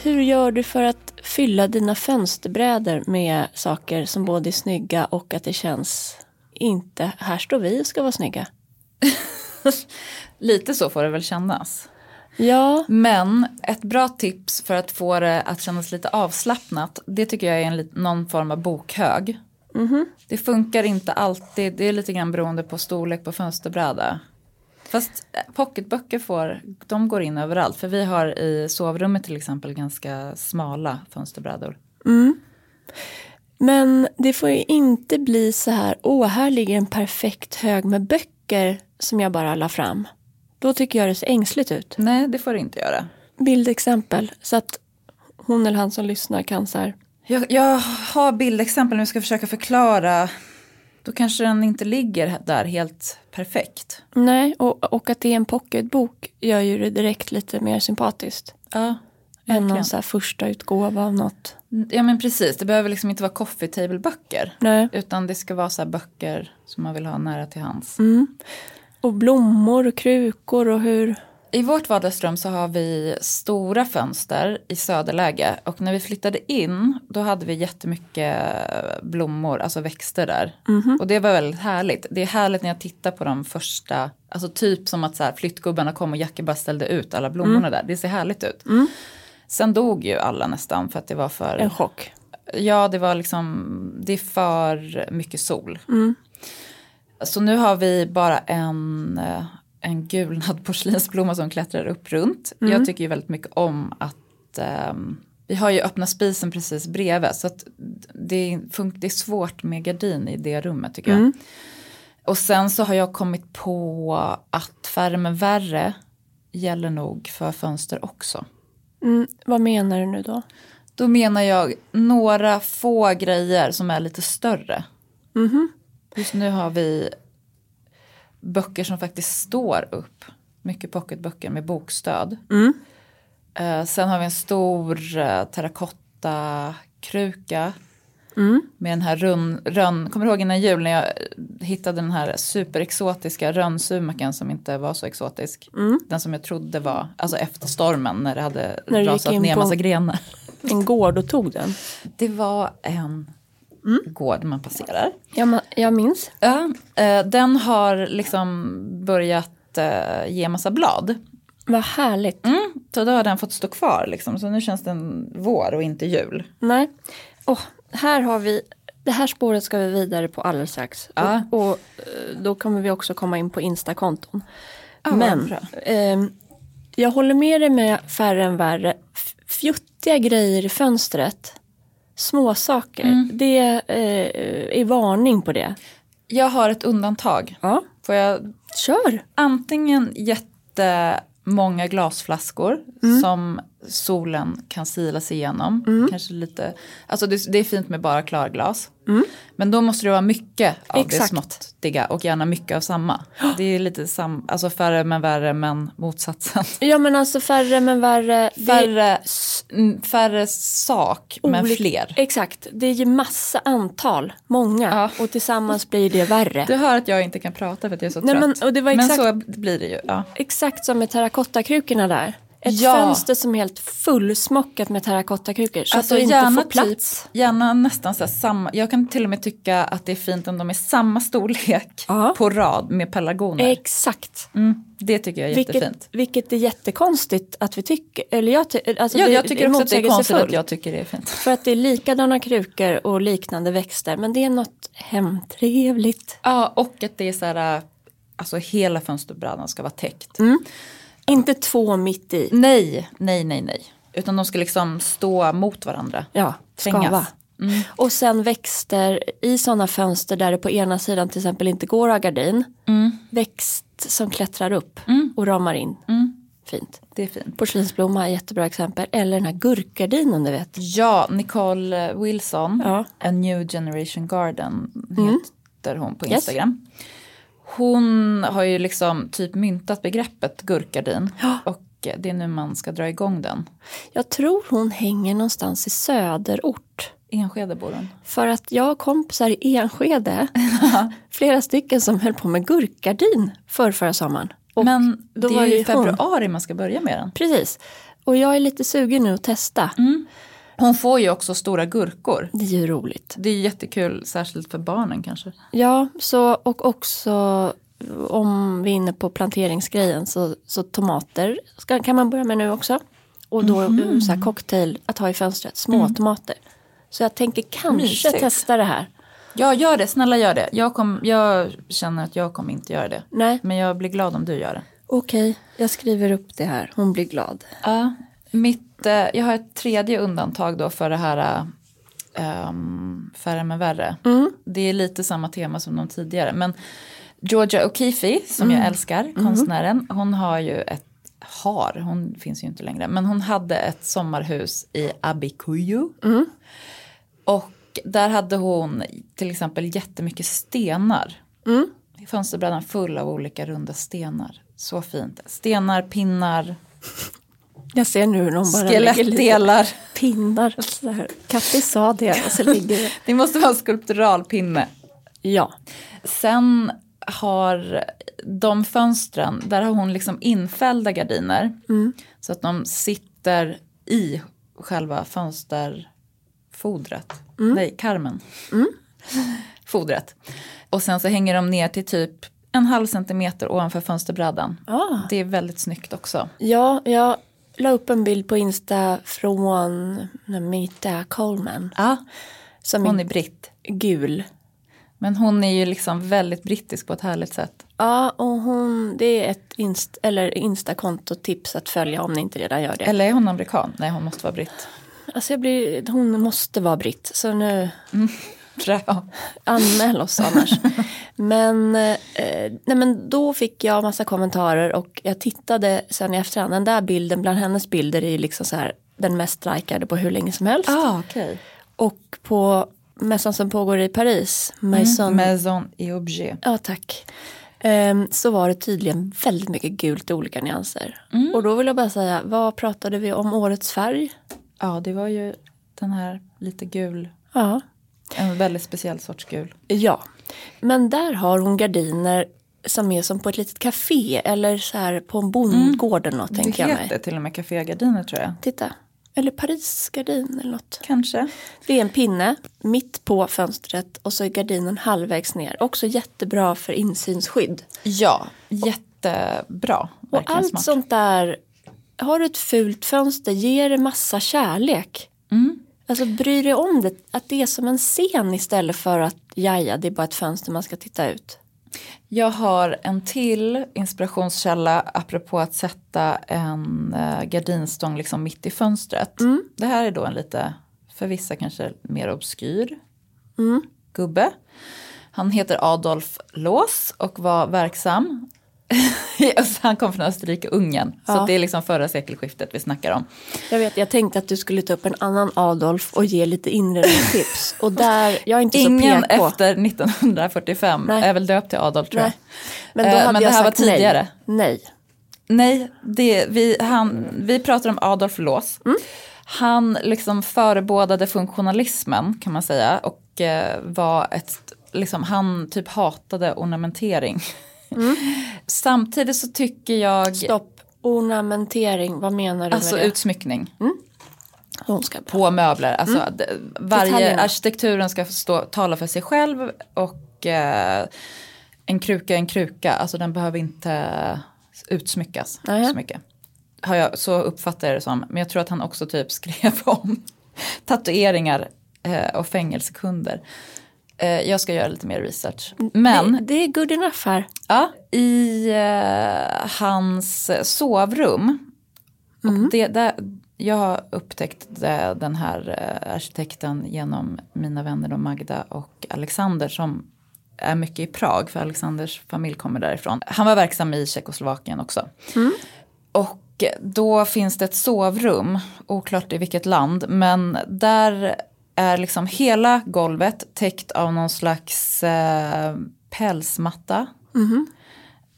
S2: Hur gör du för att fylla dina fönsterbrädor med saker som både är snygga och att det känns inte, här står vi och ska vara snygga.
S1: Lite så får det väl kännas.
S2: Ja,
S1: Men ett bra tips för att få det att kännas lite avslappnat, det tycker jag är en, lit- någon form av bokhög. Det funkar inte alltid, det är lite grann beroende på storlek på fönsterbräda. Fast eh, pocketböcker får, de går in överallt. För vi har i sovrummet till exempel ganska smala fönsterbrädor.
S2: men det får ju inte bli så här, åh, här ligger en perfekt hög med böcker som jag bara la fram. Då tycker jag det ser ängsligt ut.
S1: Nej, det får det inte göra.
S2: Bildexempel, så att hon eller han som lyssnar kan så här,
S1: Jag, jag har bildexempel nu, jag ska försöka förklara. Då kanske den inte ligger där helt perfekt.
S2: nej, och, och att det är en pocketbok gör ju det direkt lite mer sympatiskt.
S1: Ja,
S2: Än någon så här första utgåva av något.
S1: ja men precis. Det behöver liksom inte vara coffee table-böcker.
S2: Nej.
S1: Utan det ska vara så här böcker som man vill ha nära till hands.
S2: Och blommor och krukor och hur...
S1: I vårt vardagsrum så har vi stora fönster i söderläge och när vi flyttade in då hade vi jättemycket blommor, alltså växter där. Och det var väldigt härligt. Det är härligt när jag tittar på de första, alltså typ som att så här, flyttgubbarna kom och Jackie bara ställde ut alla blommorna där. Det ser härligt ut. Sen dog ju alla nästan för att det var för...
S2: En chock.
S1: Ja, det var liksom, det är för mycket sol. Så nu har vi bara en, eh, en gulnad porslinsblomma som klättrar upp runt. Jag tycker ju väldigt mycket om att ehm, vi har ju öppna spisen precis bredvid så att det, fun- det är svårt med gardin i det rummet tycker jag. Och sen så har jag kommit på att färmen värre gäller nog för fönster också.
S2: Mm, vad menar du nu då?
S1: Då menar jag några få grejer som är lite större.
S2: Mhm.
S1: Just nu har vi böcker som faktiskt står upp. Mycket pocketböcker med bokstöd.
S2: Mm.
S1: Eh, sen har vi en stor eh, terrakottakruka.
S2: Mm.
S1: Med den här rönn, rön, kommer du ihåg innan jul när jag eh, hittade den här superexotiska rönnsumaken som inte var så exotisk. Den som jag trodde var, alltså efter stormen när det hade
S2: Mm. När du gick
S1: rasat
S2: in
S1: ner
S2: på-
S1: massa grenar.
S2: En gård och tog den?
S1: Det var en gård man passerar.
S2: Jag, ma- jag minns.
S1: Mm. Ja, eh, den har liksom börjat eh, ge massa blad.
S2: Vad härligt.
S1: Mm. Så då har den fått stå kvar liksom. Så nu känns den vår och inte jul.
S2: Nej. Åh, här har vi, det här spåret ska vi vidare på alldeles strax.
S1: Ja.
S2: Och, och eh, då kommer vi också komma in på Insta-konton.
S1: Ja,
S2: Men
S1: bra.
S2: ehm, jag håller med dig med färre än värre. F- Fjuttiga grejer i fönstret, små saker. det eh, är varning på det.
S1: Jag har ett undantag.
S2: Ja,
S1: Får jag
S2: kör.
S1: antingen jättemånga glasflaskor som solen kan sila sig igenom. Kanske lite, alltså det, det är fint med bara klarglas. Men då måste det vara mycket av det
S2: Exakt.
S1: småttiga och gärna mycket av samma. Det är lite sam, alltså färre men värre men motsatsen.
S2: Ja men alltså färre men värre. Det-
S1: Färre, mm, färre sak men
S2: Olik-
S1: fler.
S2: Exakt, det är ju massa antal, många
S1: Ja.
S2: och tillsammans blir det värre.
S1: Du hör att jag inte kan prata för att jag är så
S2: Nej, men-
S1: trött.
S2: och det var
S1: men
S2: exakt-
S1: så blir det ju. Ja.
S2: Exakt som med terrakottakrukorna där. Ett
S1: Ja.
S2: fönster som är helt fullsmockat med terrakottakrukor så
S1: Alltså
S2: att du inte
S1: gärna
S2: får plats.
S1: Typ, gärna nästan så här samma, jag kan till och med tycka att det är fint om de är samma storlek
S2: Ja.
S1: på rad med pelargoner.
S2: Exakt.
S1: Mm, det tycker jag är jättefint.
S2: Vilket, vilket är jättekonstigt att vi tycker. Eller jag, ty- alltså
S1: Ja,
S2: det-
S1: jag tycker också att det är konstigt
S2: motsägelsefullt.
S1: att jag tycker det är fint.
S2: För att det är likadana krukor och liknande växter. Men det är något hemtrevligt.
S1: Ja, och att det är så här, alltså hela fönsterbrädan ska vara täckt.
S2: Mm. Inte två mitt i.
S1: Nej, nej, nej, nej. Utan de ska liksom stå mot varandra.
S2: Ja,
S1: Trängas. Mm.
S2: skava. Och sen växter i sådana fönster där det på ena sidan till exempel inte går att ha gardin.
S1: Mm.
S2: Växt som klättrar upp och ramar in.
S1: Mm.
S2: Fint.
S1: Det är fint.
S2: Porslinsblomma är jättebra exempel. Eller den här gurkgardinen du vet.
S1: Ja, Nicole Wilson,
S2: Ja. Mm.
S1: A New Generation Garden heter hon på
S2: Yes.
S1: Instagram. Hon har ju liksom typ myntat begreppet gurkgardin och det är nu man ska dra igång den.
S2: Jag tror hon hänger någonstans i söderort.
S1: Enskede bor hon.
S2: För att jag har kompisar i Enskede, flera stycken som höll på med gurkgardin förr förra sommaren. Och
S1: Men
S2: då
S1: det
S2: var
S1: är ju
S2: det
S1: i
S2: ju hon.
S1: februari man ska börja med den.
S2: Precis. Och jag är lite sugen nu att testa.
S1: Mm. Hon får ju också stora gurkor.
S2: Det är ju roligt.
S1: Det är ju jättekul, särskilt för barnen kanske.
S2: Ja, så, och också om vi är inne på planteringsgrejen så, så tomater ska, kan man börja med nu också. Och då
S1: Mhm.
S2: eh, så här cocktail att ha i fönstret, små tomater. Så jag tänker kanske
S1: Mm. Mysigt.
S2: testa det här.
S1: Ja, gör det, snälla gör det. Jag, kom, jag känner att jag kommer inte göra det.
S2: Nej,
S1: Men jag blir glad om du gör det.
S2: okej, jag skriver upp det här. Hon blir glad.
S1: Ja, mitt, eh, jag har ett tredje undantag då för det här eh, ehm, Färre men värre. Det är lite samma tema som de tidigare. Men Georgia O'Keeffe, som jag älskar, konstnären, hon har ju ett har, hon finns ju inte längre, men hon hade ett sommarhus i Abikuyu. Och där hade hon till exempel jättemycket stenar. Fönsterbrädan full av olika runda stenar. Så fint. Stenar, pinnar,
S2: Jag ser nu hur någon bara lägger lite
S1: Skelettdelar.
S2: pinnar. Så här. Katti sa det och så ligger det.
S1: Det måste vara en skulptural pinne.
S2: Ja,
S1: Sen har de fönstren, där har hon liksom infällda gardiner. Så att de sitter i själva fönsterfodret. Nej, karmen. Fodret. Och sen så hänger de ner till typ en halv centimeter ovanför fönsterbrädan.
S2: Ah.
S1: Det är väldigt snyggt också.
S2: Ja, jag la upp en bild på Insta från Namita Coleman.
S1: Ja,
S2: Som
S1: hon
S2: är
S1: är britt.
S2: gul.
S1: Men hon är ju liksom väldigt brittisk på ett härligt sätt.
S2: Ja, och hon, det är ett inst, eller Insta-kontotips att följa om ni inte redan gör det.
S1: Eller är hon amerikan? Nej, hon måste vara britt.
S2: Alltså jag blir, hon måste vara britt, så nu
S1: Tror jag.
S2: anmäl oss annars. men, eh, nej, men då fick jag massa kommentarer och jag tittade sen i efterhand. Den där bilden bland hennes bilder är ju liksom så här den mest likade på hur länge som helst.
S1: Ah, okej.
S2: Och på mässan som pågår i Paris,
S1: Mm,
S2: Maison
S1: Maison et objet.
S2: Ja, tack. Ehm, så var det tydligen väldigt mycket gult i olika nyanser.
S1: Mm.
S2: Och då vill jag bara säga, vad pratade vi om årets färg?
S1: Ja, det var ju den här lite gul,
S2: Ja.
S1: en väldigt speciell sorts gul.
S2: Ja. Men där har hon gardiner som är som på ett litet café eller så här på en bondgård eller något tänker jag
S1: Mm. det
S2: mig.
S1: heter till och med kafégardiner tror jag.
S2: Titta. Eller Parisgardin eller något.
S1: Kanske.
S2: Det är en pinne mitt på fönstret och så är gardinen halvvägs ner. Också jättebra för insynsskydd.
S1: Ja, jättebra.
S2: Och
S1: Verkligen
S2: allt
S1: smart.
S2: sånt där, har du ett fult fönster, ge det massa kärlek.
S1: Mm.
S2: Alltså bry dig om det, att det är som en scen istället för att jaja, det är bara ett fönster man ska titta ut.
S1: Jag har en till inspirationskälla apropå att sätta en eh, gardinstång liksom mitt i fönstret.
S2: Mm.
S1: Det här är då en lite, för vissa kanske mer obskyr
S2: Mm.
S1: gubbe. Han heter Adolf Loos och var verksam. Alltså, Han kom från Österrike och Ungern. Så
S2: Ja.
S1: det är liksom förra sekelskiftet vi snackar om.
S2: Jag vet, jag tänkte att du skulle ta upp en annan Adolf och ge lite inredningstips. Och där, jag är inte
S1: Ingen
S2: så PK.
S1: efter 1945
S2: Nej.
S1: är väl döpt till Adolf tror jag.
S2: Nej. Men då
S1: Eh,
S2: hade
S1: men
S2: jag
S1: det här
S2: sagt
S1: var tidigare.
S2: Nej. nej.
S1: Nej, det, vi, han, vi pratar om Adolf Loos.
S2: Mm.
S1: Han liksom förebådade funktionalismen kan man säga och eh, var ett, liksom, han typ hatade ornamentering.
S2: Mm.
S1: Samtidigt så tycker jag,
S2: Stopp. Ornamentering, vad menar du
S1: alltså
S2: med det?
S1: utsmyckning
S2: Hon ska på.
S1: på möbler, alltså d- varje
S2: Mm. Detaljerna.
S1: arkitekturen ska stå, tala för sig själv och eh, en kruka är en kruka, alltså den behöver inte utsmyckas
S2: Nej.
S1: så mycket. Har jag, så uppfattar jag det som, men jag tror att han också typ skrev om tatueringar eh, och fängelsekunder. Eh, jag ska göra lite mer research.
S2: Mm.
S1: Men
S2: Det, det är good enough här.
S1: Ja, i eh, hans sovrum. Och det, där, jag upptäckte den här eh, arkitekten genom mina vänner då Magda och Alexander som är mycket i Prag för Alexanders familj kommer därifrån. Han var verksam i Tjeckoslovakien också. Och då finns det ett sovrum, oklart i vilket land, men där är liksom hela golvet täckt av någon slags eh, pälsmatta.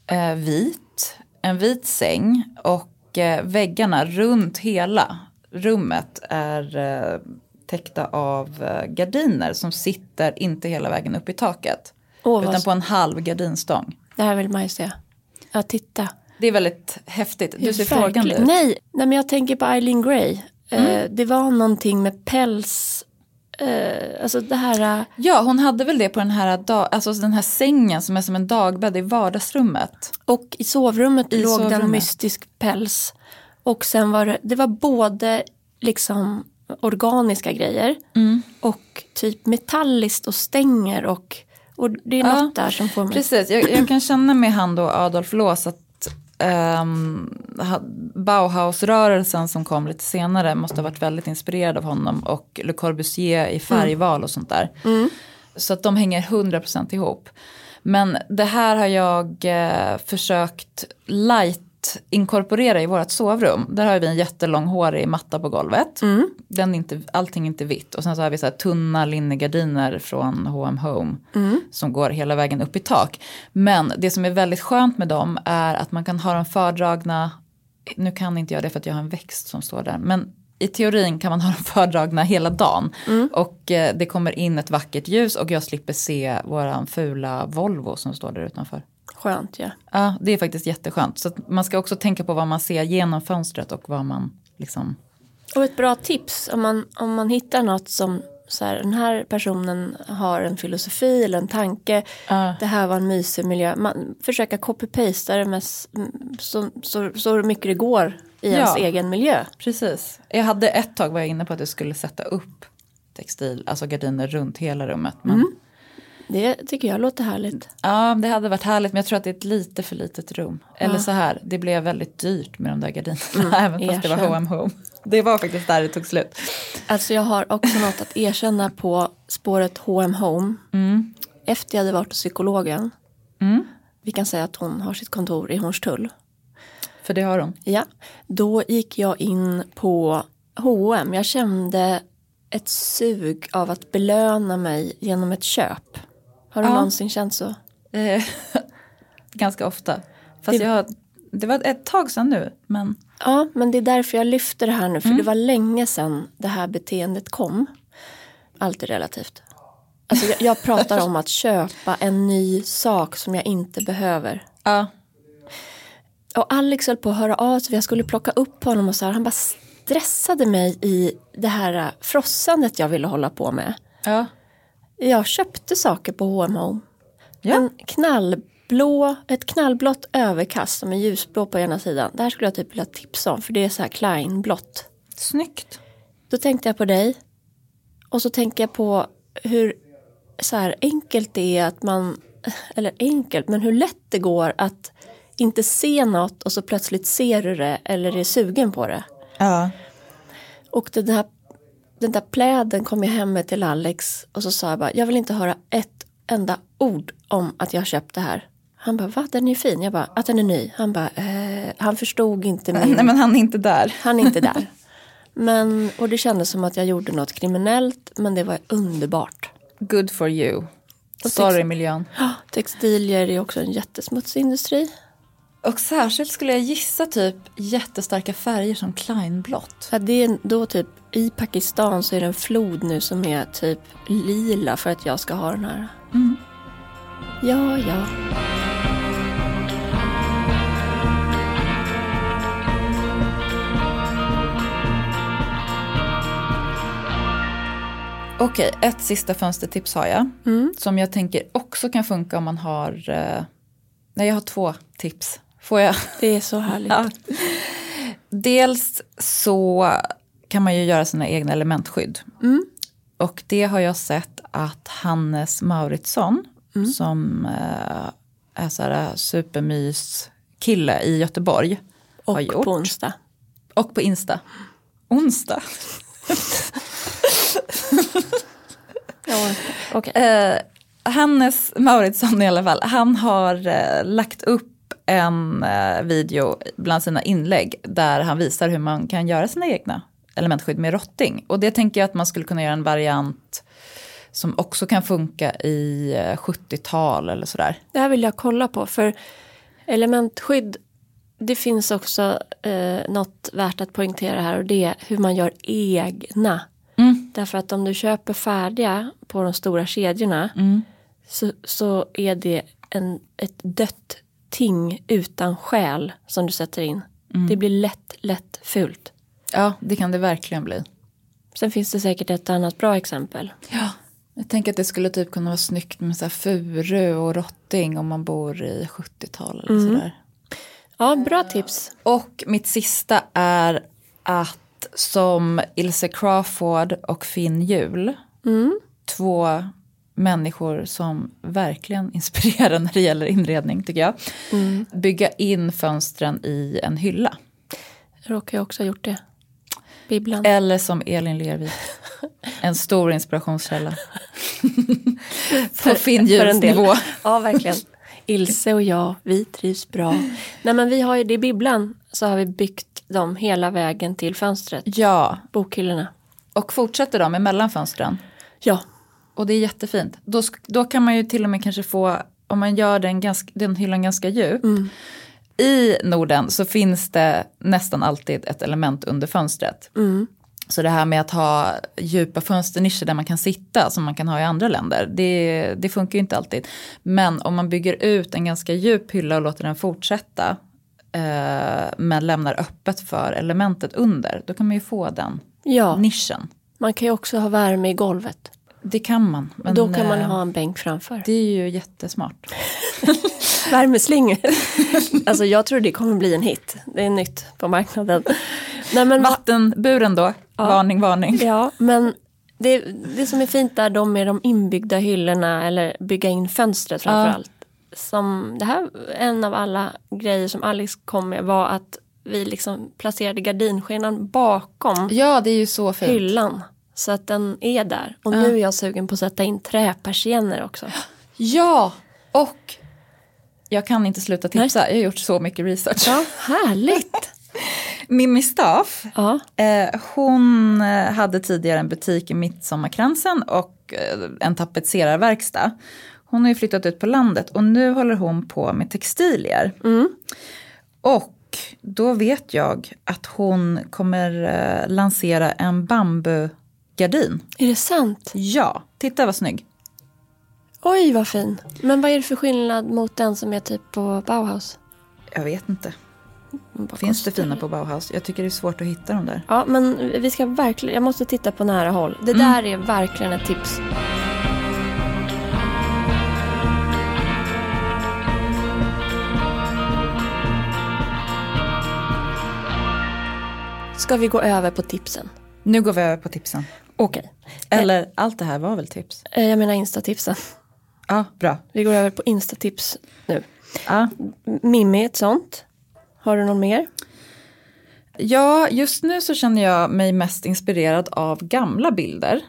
S1: Eh, vit, en vit säng och eh, väggarna runt hela rummet är eh, täckta av eh, gardiner som sitter inte hela vägen upp i taket.
S2: Åh, vad
S1: utan på en halv gardinstång.
S2: Det här vill man ju se. Ja, titta.
S1: Det är väldigt häftigt. Du ser
S2: Verkligen.
S1: frågande ut. Mm.
S2: Nej, nej, men jag tänker på Eileen Gray. Eh, det var någonting med päls. Eh, alltså det här, eh,
S1: Ja, hon hade väl det på den här, dag, alltså den här sängen som är som en dagbädd i vardagsrummet.
S2: och i sovrummet låg det
S1: sovrummet.
S2: en mystisk päls. Och sen var det, det var både liksom organiska grejer
S1: Mm.
S2: och typ metalliskt och stänger och, och det är
S1: Ja,
S2: något där som får mig.
S1: Precis, jag, jag kan känna med han då Adolf Loos att ehm, ha- Bauhausrörelsen som kom lite senare måste ha varit väldigt inspirerad av honom och Le Corbusier i färgval och sånt där. Så att de hänger 100% ihop. Men det här har jag eh, försökt light inkorporera i vårt sovrum. Där har vi en jättelång hårig matta på golvet. Den är inte, allting är inte vitt. Och sen så har vi så här tunna linnegardiner från H&M Home. Som går hela vägen upp i tak. Men det som är väldigt skönt med dem är att man kan ha dem fördragna. Nu kan inte jag det för att jag har en växt som står där. Men i teorin kan man ha dem fördragna hela dagen. Och eh, det kommer in ett vackert ljus och jag slipper se våran fula Volvo som står där utanför.
S2: Skönt ja.
S1: Ja, det är faktiskt jätteskönt. Så att man ska också tänka på vad man ser genom fönstret och vad man liksom...
S2: Och ett bra tips om man, om man hittar något som så här, den här personen har en filosofi eller en tanke.
S1: Ja.
S2: Det här var en mysig miljö. Man, försöka copy-pasta det med, s- m- så, så, så mycket det går i
S1: Ja.
S2: ens egen miljö.
S1: Precis. Jag hade ett tag var jag inne på att jag skulle sätta upp textil, alltså gardiner runt hela rummet. Men
S2: Det tycker jag låter härligt.
S1: Ja, det hade varit härligt men jag tror att det är ett lite för litet rum. Eller så här, det blev väldigt dyrt med de där gardinerna även fast det var
S2: erkänn.
S1: H&M Home. Det var faktiskt där det tog slut.
S2: Alltså jag har också något att erkänna på spåret H&M Home.
S1: Mm.
S2: Efter jag hade varit hos psykologen. Vi kan säga att hon har sitt kontor i Hornstull.
S1: För det har de.
S2: Ja, då gick jag in på H&M. Jag kände ett sug av att belöna mig genom ett köp. Har du någonsin känt så?
S1: Eh, Ganska ofta. Fast
S2: Det-
S1: jag, det var ett tag sedan nu. Men
S2: Ja, men det är därför jag lyfter det här nu. För det var länge sedan det här beteendet kom. Allt är relativt. Alltså jag, jag pratar om att köpa en ny sak som jag inte behöver.
S1: ja,
S2: Och Alex höll på att höra av sig, för jag skulle plocka upp honom och så här, han bara stressade mig i det här eh, frossandet jag ville hålla på med.
S1: ja.
S2: Jag köpte saker på H&M Home.
S1: Ja.
S2: En knallblå, ett knallblått överkast som är ljusblå på ena sidan. Det här skulle jag typ vilja tipsa om för det är så här Kleinblått.
S1: snyggt.
S2: Då tänkte jag på dig. Och så tänker jag på hur så här enkelt det är att man, eller enkelt, men hur lätt det går att inte se något och så plötsligt ser du det eller är sugen på det.
S1: Ja.
S2: Och den där, den där pläden kom jag hem med till Alex och så sa jag bara, jag vill inte höra ett enda ord om att jag köpt det här. Han bara, va den är fin? Jag bara, att den är ny. Han bara, eh, han förstod inte min
S1: Nej men han är inte där.
S2: han är inte där. Men, och det kändes som att jag gjorde något kriminellt, men det var underbart.
S1: Good for you.
S2: Och
S1: Sorry miljön.
S2: Ja, Textilier är också en jättesmutsig industri.
S1: Och särskilt skulle jag gissa typ jättestarka färger som Kleinblått.
S2: Ja, det är då typ, I Pakistan så är det en flod nu som är typ lila för att jag ska ha den här. Ja, ja.
S1: Okej, ett sista fönstertips har jag.
S2: Mm.
S1: Som jag tänker också kan funka om man har... Eh... Nej, jag har två tips. Får jag?
S2: Det är så härligt.
S1: Ja. Dels så kan man ju göra sina egna elementskydd.
S2: Mm.
S1: Och det har jag sett att Hannes Mauritsson
S2: Mm.
S1: som eh, är så här supermys-kille i Göteborg har
S2: Och
S1: gjort.
S2: på onsdag.
S1: Och på Insta. Onsdag.
S2: Okej.
S1: Eh, Hannes Mauritsson i alla fall, han har eh, lagt upp en eh, video bland sina inlägg där han visar hur man kan göra sina egna elementskydd med rotting. Och det tänker jag att man skulle kunna göra en variant som också kan funka i eh, 70-tal eller sådär.
S2: Det här vill jag kolla på för elementskydd det finns också eh, något värt att poängtera här och det är hur man gör egna.
S1: Mm,
S2: Därför att om du köper färdiga på de stora kedjorna
S1: mm.
S2: så, så är det en, ett dött ting utan själ som du sätter in.
S1: Mm.
S2: Det blir lätt, lätt fult.
S1: Ja, det kan det verkligen bli.
S2: Sen finns det säkert ett annat bra exempel.
S1: Ja. Jag tänker att det skulle typ kunna vara snyggt med så här furu och rotting om man bor i 70-tal eller sådär.
S2: Ja, bra tips.
S1: Och mitt sista är att som Ilse Crawford och Finn Hjul,
S2: Mm.
S1: två människor som verkligen inspirerar när det gäller inredning tycker jag,
S2: Mm.
S1: bygga in fönstren i en hylla.
S2: Jag råkar ju också ha gjort det. Bibblan.
S1: Eller som Elin Lervik, en stor inspirationskälla. På Finn
S2: för
S1: Hjuls
S2: en del.
S1: nivå.
S2: Ja, verkligen. Ilse och jag, vi trivs bra. Nej, men vi har ju det i bibblan så har vi byggt dem hela vägen till fönstret,
S1: Ja,
S2: bokhyllorna.
S1: och fortsätter de emellan fönstren.
S2: Ja,
S1: Och det är jättefint. Då, sk- då kan man ju till och med kanske få, om man gör den, ganska, den hyllan ganska djup.
S2: Mm. Mm.
S1: I Norden så finns det nästan alltid ett element under fönstret. Så det här med att ha djupa fönsternischer där man kan sitta som man kan ha i andra länder, det, det funkar ju inte alltid. Men om man bygger ut en ganska djup hylla och låter den fortsätta eh, men lämnar öppet för elementet under, då kan man ju få den
S2: Ja,
S1: nischen.
S2: man kan ju också ha värme i golvet.
S1: Det kan man. Men
S2: Då kan man
S1: eh,
S2: ha en bänk framför.
S1: Det är ju jättesmart.
S2: Värmeslingor. alltså jag tror det kommer bli en hit. Det är nytt på marknaden. Nej, men,
S1: Vattenburen då, varning varning.
S2: ja, men det, det som är fint där de är de inbyggda hyllorna eller bygga in fönstret framför
S1: Ja.
S2: allt. Som, det här, en av alla grejer som Alice kom med var att vi liksom placerade gardinskenan bakom
S1: Ja, det är ju så fint.
S2: hyllan. Så att den är där. Och nu är jag sugen på att sätta in träpersienner också.
S1: Ja, och jag kan inte sluta tipsa, jag har gjort så mycket research.
S2: Ja, härligt.
S1: Mimmi Staff,
S2: Ja,
S1: eh, hon eh, hade tidigare en butik i Midsommarkransen och eh, en tapetserarverkstad. Hon har ju flyttat ut på landet och nu håller hon på med textilier. Och då vet jag att hon kommer eh, lansera en bambugardin.
S2: är det sant?
S1: Ja, titta vad snygg.
S2: Oj, vad fin. Men vad är det för skillnad mot den som är typ på Bauhaus?
S1: Jag vet inte.
S2: Vad
S1: Finns det
S2: kostar
S1: fina på Bauhaus? Jag tycker det är svårt att hitta dem där.
S2: Ja, men vi ska verkligen, jag måste titta på nära håll. Det där är verkligen ett tips. Ska vi gå över på tipsen?
S1: Nu går vi över på tipsen. Eh.
S2: Okej.
S1: Eller allt det här var väl tips?
S2: Eh, Jag menar instatipsen.
S1: Ja, bra.
S2: Vi går över på instatips nu.
S1: Ja.
S2: M- Mimmi är ett sånt. Har du någon mer?
S1: ja, just nu så känner jag mig mest inspirerad av gamla bilder.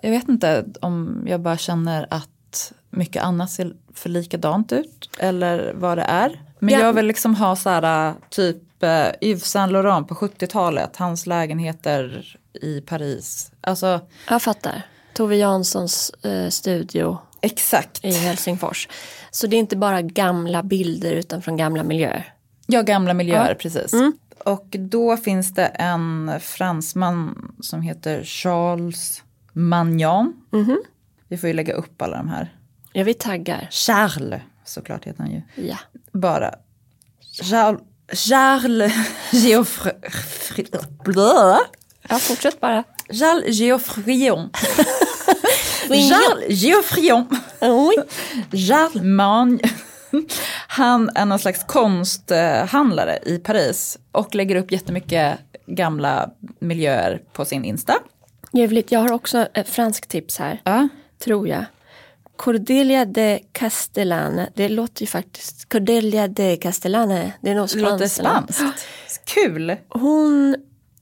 S1: Jag vet inte om jag bara känner att mycket annat ser för likadant ut eller vad det är. Men
S2: Ja.
S1: jag vill liksom ha så här typ eh, Yves Saint Laurent på 70-talet, hans lägenheter i Paris. Alltså
S2: Jag fattar. Tove Janssons eh, studio
S1: exakt.
S2: i Helsingfors. Så det är inte bara gamla bilder utan från gamla miljöer.
S1: Ja, gamla miljöer, precis. Och då finns det en fransman som heter Charles Magnan. Vi får ju lägga upp alla de här.
S2: Ja, vi taggar.
S1: Charles, såklart heter han ju.
S2: Ja.
S1: Bara Charles, Charles Geoffre...
S2: ja, fortsätt bara.
S1: Charles Geoffrion. Charles Geoffrion.
S2: Oj.
S1: Charles Magne. Han är någon slags konsthandlare i Paris och lägger upp jättemycket gamla miljöer på sin Insta.
S2: Ljuvligt. Jag har också ett franskt tips här,
S1: Ja.
S2: tror jag. Cordelia de Castellane. Det låter ju faktiskt... Cordelia de Castellane. Det är nog
S1: Det låter
S2: spanskt, eller?
S1: spanskt. Kul!
S2: Hon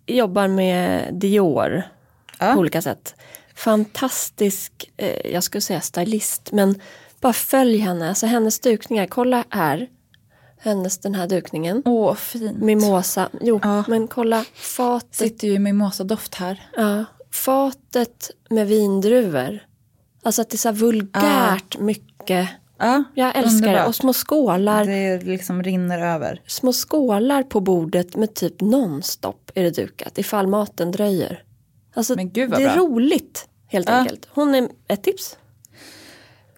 S2: jobbar med Dior
S1: Ja.
S2: på olika sätt. Fantastisk, eh, jag skulle säga stylist, men bara följ henne. Alltså hennes dukningar, kolla här. Hennes den här dukningen.
S1: Åh, fint.
S2: Mimosa, jo
S1: Ja.
S2: men kolla fatet.
S1: Sitter ju i mimosadoft här.
S2: Ja, fatet med vindruvor. Alltså att det är så här vulgärt mycket.
S1: Ja,
S2: Jag älskar det.
S1: underbart.
S2: Och små skålar.
S1: Det liksom rinner över.
S2: Små skålar på bordet med typ nonstop är det dukat ifall maten dröjer. Alltså,
S1: Men gud vad
S2: det är
S1: bra.
S2: roligt helt
S1: Ja.
S2: enkelt. Hon är ett tips.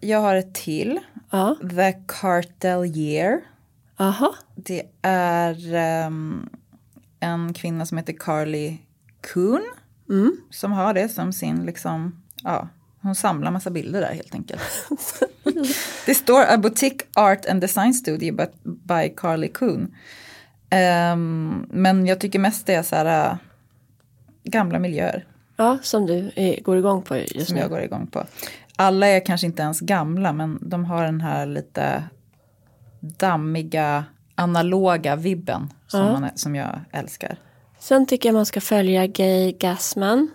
S1: Jag har ett till.
S2: Ja.
S1: The Cartelier.
S2: Aha.
S1: Det är ehm, en kvinna som heter Carly Kuhn. Som har det som sin, liksom, ja, hon samlar massa bilder där helt enkelt. det står A Boutique Art and Design Studio but by Carly Kuhn. Ehm, men jag tycker mest det är så här äh, gamla miljöer
S2: Ja, som du eh, går igång på just
S1: som
S2: nu.
S1: jag går igång på. Alla är kanske inte ens gamla men de har den här lite dammiga analoga vibben som, man är, som jag älskar.
S2: Sen tycker jag man ska följa Gay Gassman.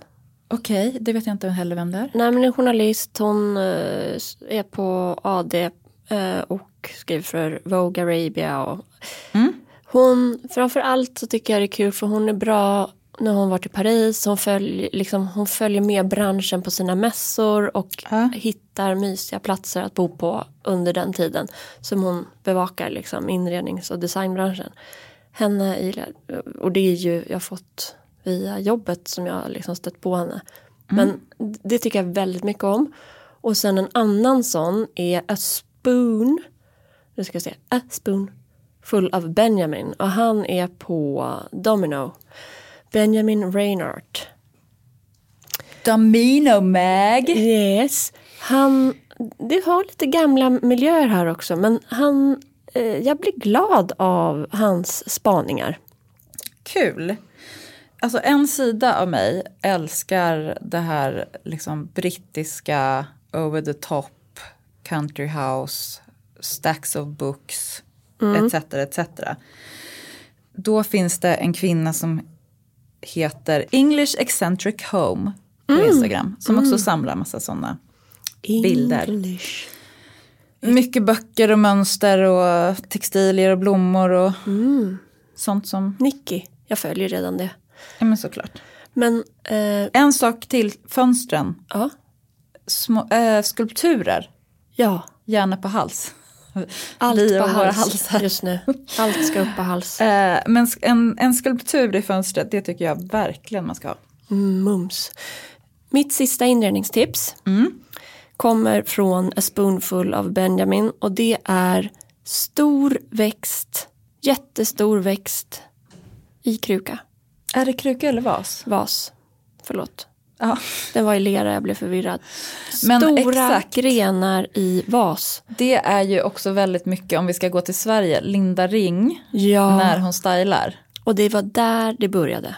S1: Okej, det vet jag inte heller vem det är.
S2: Nej, men en journalist. Hon eh, är på AD eh, och skriver för Vogue Arabia. Och... Hon, framför allt så tycker jag det är kul för hon är bra när hon varit i Paris. Hon, följ, liksom, hon följer med branschen på sina mässor och
S1: Ja.
S2: hittar mysiga platser att bo på under den tiden. Som hon bevakar liksom, inrednings och designbranschen. Henne gillar, och det är ju, jag har fått via jobbet som jag liksom stött på henne. Men det tycker jag väldigt mycket om. Och sen en annan sån är A Spoon. Nu ska jag se. A Spoon. Full av Benjamin. Och han är på Domino. Benjamin Reinhardt.
S1: Domino Mag.
S2: Yes. Han, det har lite gamla miljöer här också men han, eh, jag blir glad av hans spaningar.
S1: Kul. Alltså en sida av mig älskar det här liksom brittiska over the top, country house, stacks of books etc. etc. Då finns det en kvinna som heter English Eccentric Home på Instagram som också samlar massa sådana Bilder.
S2: English.
S1: Mycket böcker och mönster och textilier och blommor och sånt som...
S2: Nicky, jag följer redan det.
S1: Ja men såklart.
S2: Men eh,
S1: En sak till, fönstren.
S2: ja,
S1: Små, eh, skulpturer,
S2: ja,
S1: gärna på hals.
S2: allt
S1: Vi
S2: på
S1: och våra
S2: hals
S1: halsar.
S2: just nu. Allt ska upp på hals.
S1: Eh, men sk- en, en skulptur i fönstret, det tycker jag verkligen man ska ha.
S2: Mm, Mums. Mitt sista inredningstips
S1: Mm.
S2: kommer från A Spoonful av Benjamin och det är stor växt, jättestor växt i kruka,
S1: Är det kruka eller vas?
S2: vas. Förlåt,
S1: Ja.
S2: den var i lera, jag blev förvirrad.
S1: Men
S2: Stora
S1: exakt.
S2: grenar i vas.
S1: Det är ju också väldigt mycket, om vi ska gå till Sverige, Linda Ring
S2: Ja.
S1: när hon stylar.
S2: Och det var där det började.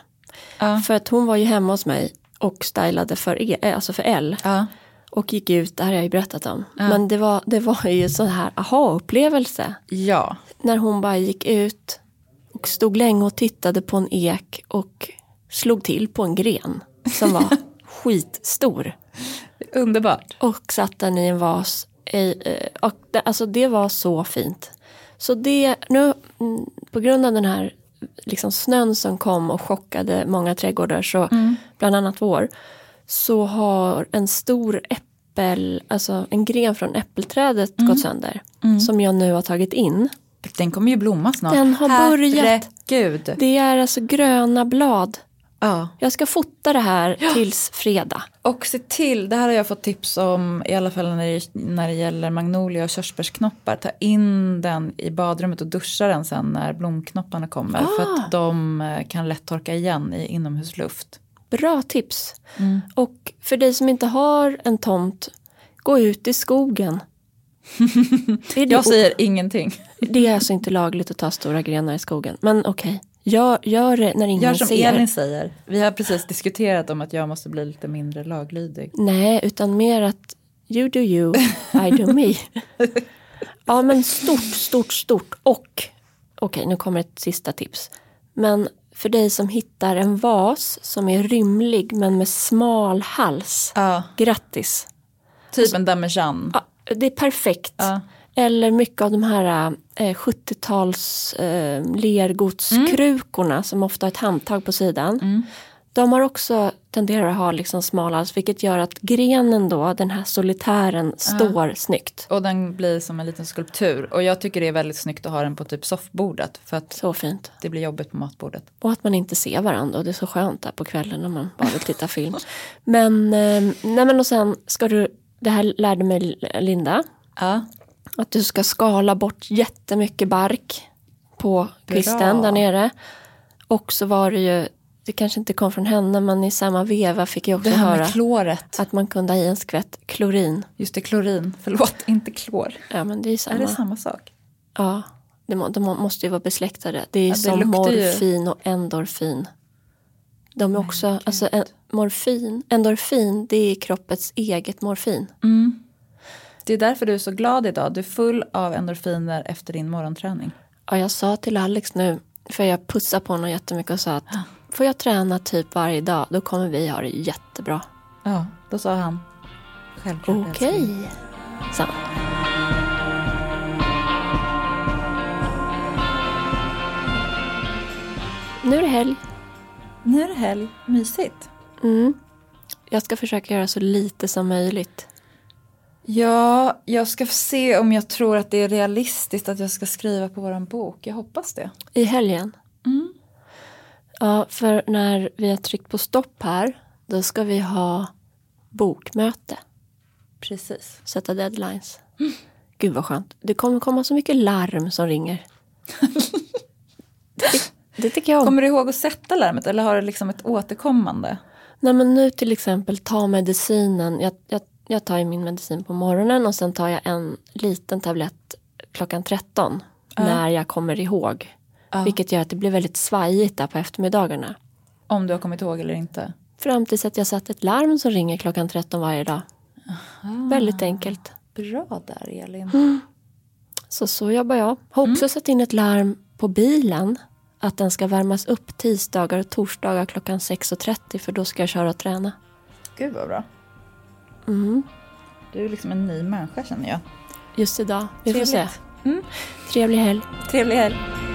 S1: Ja.
S2: För att hon var ju hemma hos mig och stylade för, e, alltså för L.
S1: Ja.
S2: Och gick ut, det här har jag ju berättat om. Men det var, det var ju sån här aha-upplevelse.
S1: ja.
S2: När hon bara gick ut och stod länge och tittade på en ek och slog till på en gren som var skitstor.
S1: Underbart.
S2: Och satte den i en vas. I, eh, och det, alltså det var så fint. Så det, nu mm, på grund av den här liksom snön som kom och chockade många trädgårdar, så, bland annat vår, så har en stor äppel, alltså en gren från äppelträdet gått sönder. Som jag nu har tagit in.
S1: Den kommer ju blomma snart.
S2: Den har börjat.
S1: Herregud.
S2: Det är alltså gröna blad.
S1: Ja.
S2: Jag ska fota det här tills fredag.
S1: Och se till, det här har jag fått tips om i alla fall när det, när det gäller magnolia och körsbärsknoppar. Ta in den i badrummet och duscha den sen när blomknopparna kommer. För att de eh, kan lätt torka igen i inomhusluft.
S2: Bra tips.
S1: Mm.
S2: Och för dig som inte har en tomt, gå ut i skogen. det, är det,
S1: Jag säger ingenting.
S2: det är alltså inte lagligt att ta stora grenar i skogen, men okej. Gör, gör det när ingen
S1: Gör som
S2: ser.
S1: Elin säger. Vi har precis diskuterat om att jag måste bli lite mindre laglydig.
S2: Nej, utan mer att you do you, I do me. ja, men stort, stort, stort. Och, okej, nu kommer ett sista tips. Men för dig som hittar en vas som är rymlig men med smal hals,
S1: Ja.
S2: grattis.
S1: Typ en damejeanne.
S2: Ja, det är perfekt.
S1: Ja.
S2: Eller mycket av de här eh, 70-tals eh, lergodskrukorna som ofta har ett handtag på sidan. De har också tenderar att ha liksom smal hals vilket gör att grenen då, den här solitären, står snyggt.
S1: Och den blir som en liten skulptur. Och jag tycker det är väldigt snyggt att ha den på typ soffbordet. För att
S2: Så fint.
S1: det blir jobbigt på matbordet.
S2: Och att man inte ser varandra och det är så skönt där på kvällen när man bara vill titta film. Men, eh, nej men och sen ska du, det här lärde mig Linda,
S1: Ja.
S2: Att du ska skala bort jättemycket bark på kvisten
S1: Bra.
S2: där nere. Och så var det ju, det kanske inte kom från henne men i samma veva fick jag också
S1: Det här
S2: höra
S1: med kloret.
S2: att man kunde ha i en skvätt klorin.
S1: Just det, klorin. Förlåt, inte klor.
S2: Ja men det är ju
S1: Är
S2: samma.
S1: det samma sak?
S2: Ja, det må, de må- måste ju vara besläktade. Det är ju
S1: Ja, det
S2: som
S1: luktar ju-
S2: morfin och endorfin. De är också, alltså en, morfin, endorfin det är kroppets eget morfin.
S1: Mm. Det är därför du är så glad idag. Du är full av endorfiner efter din morgonträning.
S2: Ja, jag sa till Alex nu, för jag pussade på honom jättemycket och sa att får jag träna typ varje dag, då kommer vi ha det jättebra.
S1: Ja, då sa han. Självklart
S2: Okej,
S1: älskling.
S2: sa han. Nu är det helg.
S1: Nu är det helg. Mysigt.
S2: Jag ska försöka göra så lite som möjligt.
S1: Ja, jag ska se om jag tror att det är realistiskt att jag ska skriva på våran bok. Jag hoppas det.
S2: I helgen? Ja, för när vi har tryckt på stopp här, då ska vi ha bokmöte.
S1: Precis.
S2: Sätta deadlines. Gud vad skönt. Det kommer komma så mycket larm som ringer. det, det tycker jag om.
S1: Kommer du ihåg att sätta larmet eller har du liksom ett återkommande?
S2: Nej men nu till exempel ta medicinen. Jag, jag, jag tar ju min medicin på morgonen och sen tar jag en liten tablett klockan 13. När jag kommer ihåg.
S1: Ja.
S2: Vilket gör att det blir väldigt svajigt där på eftermiddagarna.
S1: Om du har kommit ihåg eller inte.
S2: Fram tills att jag satt ett larm som ringer klockan 13 varje dag. Väldigt enkelt.
S1: Bra där Elin.
S2: Så så jobbar jag. Har också satt in ett larm på bilen. Att den ska värmas upp tisdagar och torsdagar klockan 6.30 för då ska jag köra och träna.
S1: Gud vad bra.
S2: Mm.
S1: Du är liksom en ny människa känner jag.
S2: Just idag. Vi får se.
S1: Trevligt. Mm.
S2: Trevlig helg.
S1: Trevlig helg.